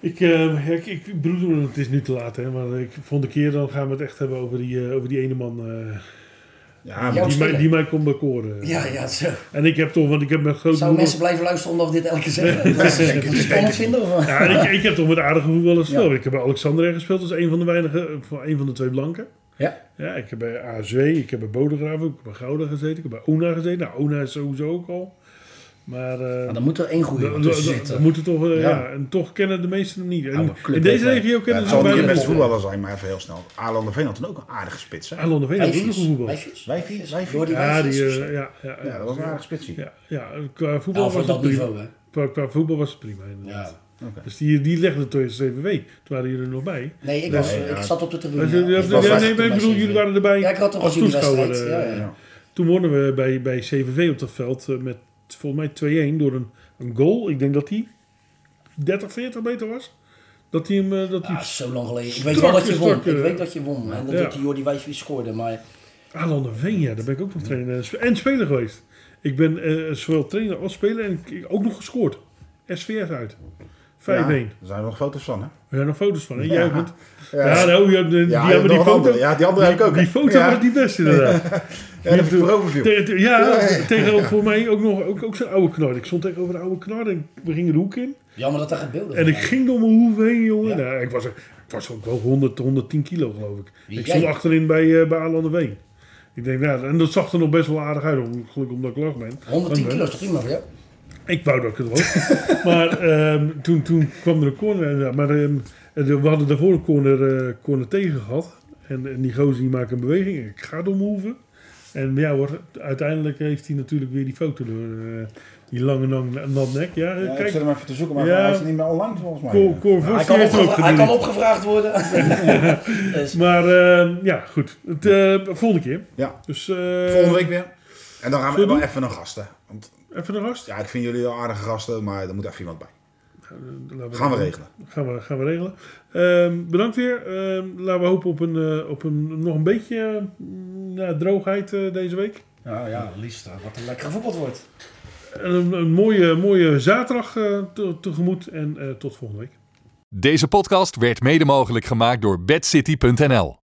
Ik, eh, ik, ik ik bedoel, het is nu te laat, hè, maar ik vond een keer dan gaan we het echt hebben over die, eh, over die ene man eh,
Ja, maar
Ja.
die, mij,
stiller.
die mij kon bekoren.
Ja, ja, zo.
En ik heb toch, want ik heb met grote
Zouden
broer-
mensen blijven luisteren omdat we dit elke keer zeggen? Dat ze het spannend vinden? Of?
Ja, en ik, ik heb toch met aardige voetballers
Ja.
gespeeld. Ik heb bij Alexander gespeeld als een van de weinige, eh, van een van de twee blanken.
Ja.
Ja, ik heb bij ASW, ik heb bij Bodegraven, ik heb bij Gouda gezeten, ik heb bij ONA gezeten. Nou, ONA is sowieso ook al. Maar eh,
Maar Ah, dan moet er één goede
dan-
iemand
dan-
tussen
dan- dan
zitten.
moeten toch, eh, ja.
Ja.
en toch kennen de meesten hem niet. En
Ja, maar club
in deze
weet wel.
regio
Ja,
kennen
het
ze
zal
hem
niet de
bijna
beste
niet.
voetballer zijn, maar even heel snel. Aarland de Veen had toen ook een aardige spits. Hè?
Alan de Veen had ook nog
Wijfjes.
voetbal.
Wijfjes.
Wijfjes, wijfjes.
Jordi
Ja, die,
Wijfjes.
eh, ja, ja,
Ja, dat was een aardige spitsie.
ja, ja, qua voetbal
Ja, voor
was het
dat
prima.
niveau, hè.
Qua, qua voetbal was het prima, inderdaad.
Ja.
Dus die, die legde het door CVW. Toen waren jullie er nog bij.
Nee, ik,
Nee,
was,
ja.
ik zat op de
Ja,
tribune.
ja,
Ja, ik
ja,
was echt
nee,
op de
maar ik bedoel,
match.
jullie waren erbij
Ja, ik had toch
als
gezien die
toeschouwer.
wedstrijd.
eh,
Ja, ja.
Ja.
Toen wonnen we bij, bij CVV op dat veld eh, met volgens mij 2-1 door een, een goal. Ik denk dat die 30, 40 meter was. Dat hij hem... eh, dat die
Ah, zo lang geleden. Ik weet wel dat je won.
strak, eh.
Ik weet dat je won. En dat
Ja.
ja. die Jordi Wijs weer scoorde. Maar Ah.
Alan de Veen, ja, daar ben ik ook nog trainer en sp- en speler geweest. Ik ben eh, zowel trainer als speler en ik- ook nog gescoord. SVS uit. 5-1.
Ja,
We
Daar zijn er nog foto's van, hè?
Er zijn nog foto's van, hè? Jij ook niet. Ja,
Ja,
nou, je hebt de-
Ja,
die hebben die
nog
foto.
een andere. Ja, die andere heb ik ook.
Die
hè?
foto
ja.
was die beste, inderdaad.
Ja, dat is overview.
Te- te- ja,
Ja, ja.
tegenover voor mij ook nog ook, ook zo'n oude knard. Ik stond tegenover de oude knard en we gingen de hoek in.
jammer dat daar geen beelden
En
van
ik
zijn.
ging door mijn hoef heen, jongen.
Ja.
Nou, ik, was, er- ik was ook wel 100, 110 kilo, geloof ik.
Wie
ik
jij?
stond achterin bij, eh, bij Alan de Ween. Ik denk, nou, en dat zag er nog best wel aardig uit, om- gelukkig omdat ik lach ben.
110
Want,
kilo is toch prima voor jou?
ik wou dat ik het was. maar ehm, toen, toen kwam er een corner. en, ja, Maar ehm, de- we hadden daarvoor een corner, eh, corner tegen gehad. En, en die gozer die maakt een beweging. Ik ga domhoeven. En ja hoor, uiteindelijk heeft hij natuurlijk weer die foto door. eh, die lange, lange natnek. Ja, eh,
Ja, ik
kijk.
zit hem even te zoeken, maar
Ja.
hij is niet meer online volgens mij.
Cor, Cor Vos,
Hij
die
kan,
heeft hem ook
opgevra- hij
gedoe.
kan opgevraagd worden. Dus-
Maar ehm, ja, goed. Het, eh, volgende keer.
Ja.
Dus eh,
Volgende week weer. En dan gaan we
Zullen we
wel even een gast, hè. Want
even een rast.
ja, ik vind jullie al aardige gasten, maar er moet even iemand bij.
Eh, laten
Gaan we regelen.
Gaan we, gaan we regelen. Ehm, bedankt weer. Ehm, laten we hopen op een, eh, op een nog een beetje mm, ja, droogheid eh, deze week.
Nou ja, liefst. eh, Wat er lekker gevoetbald wordt.
En een, een mooie, mooie zaterdag eh, te- tegemoet. En eh, tot volgende week.
Deze podcast werd mede mogelijk gemaakt door bedcity.nl.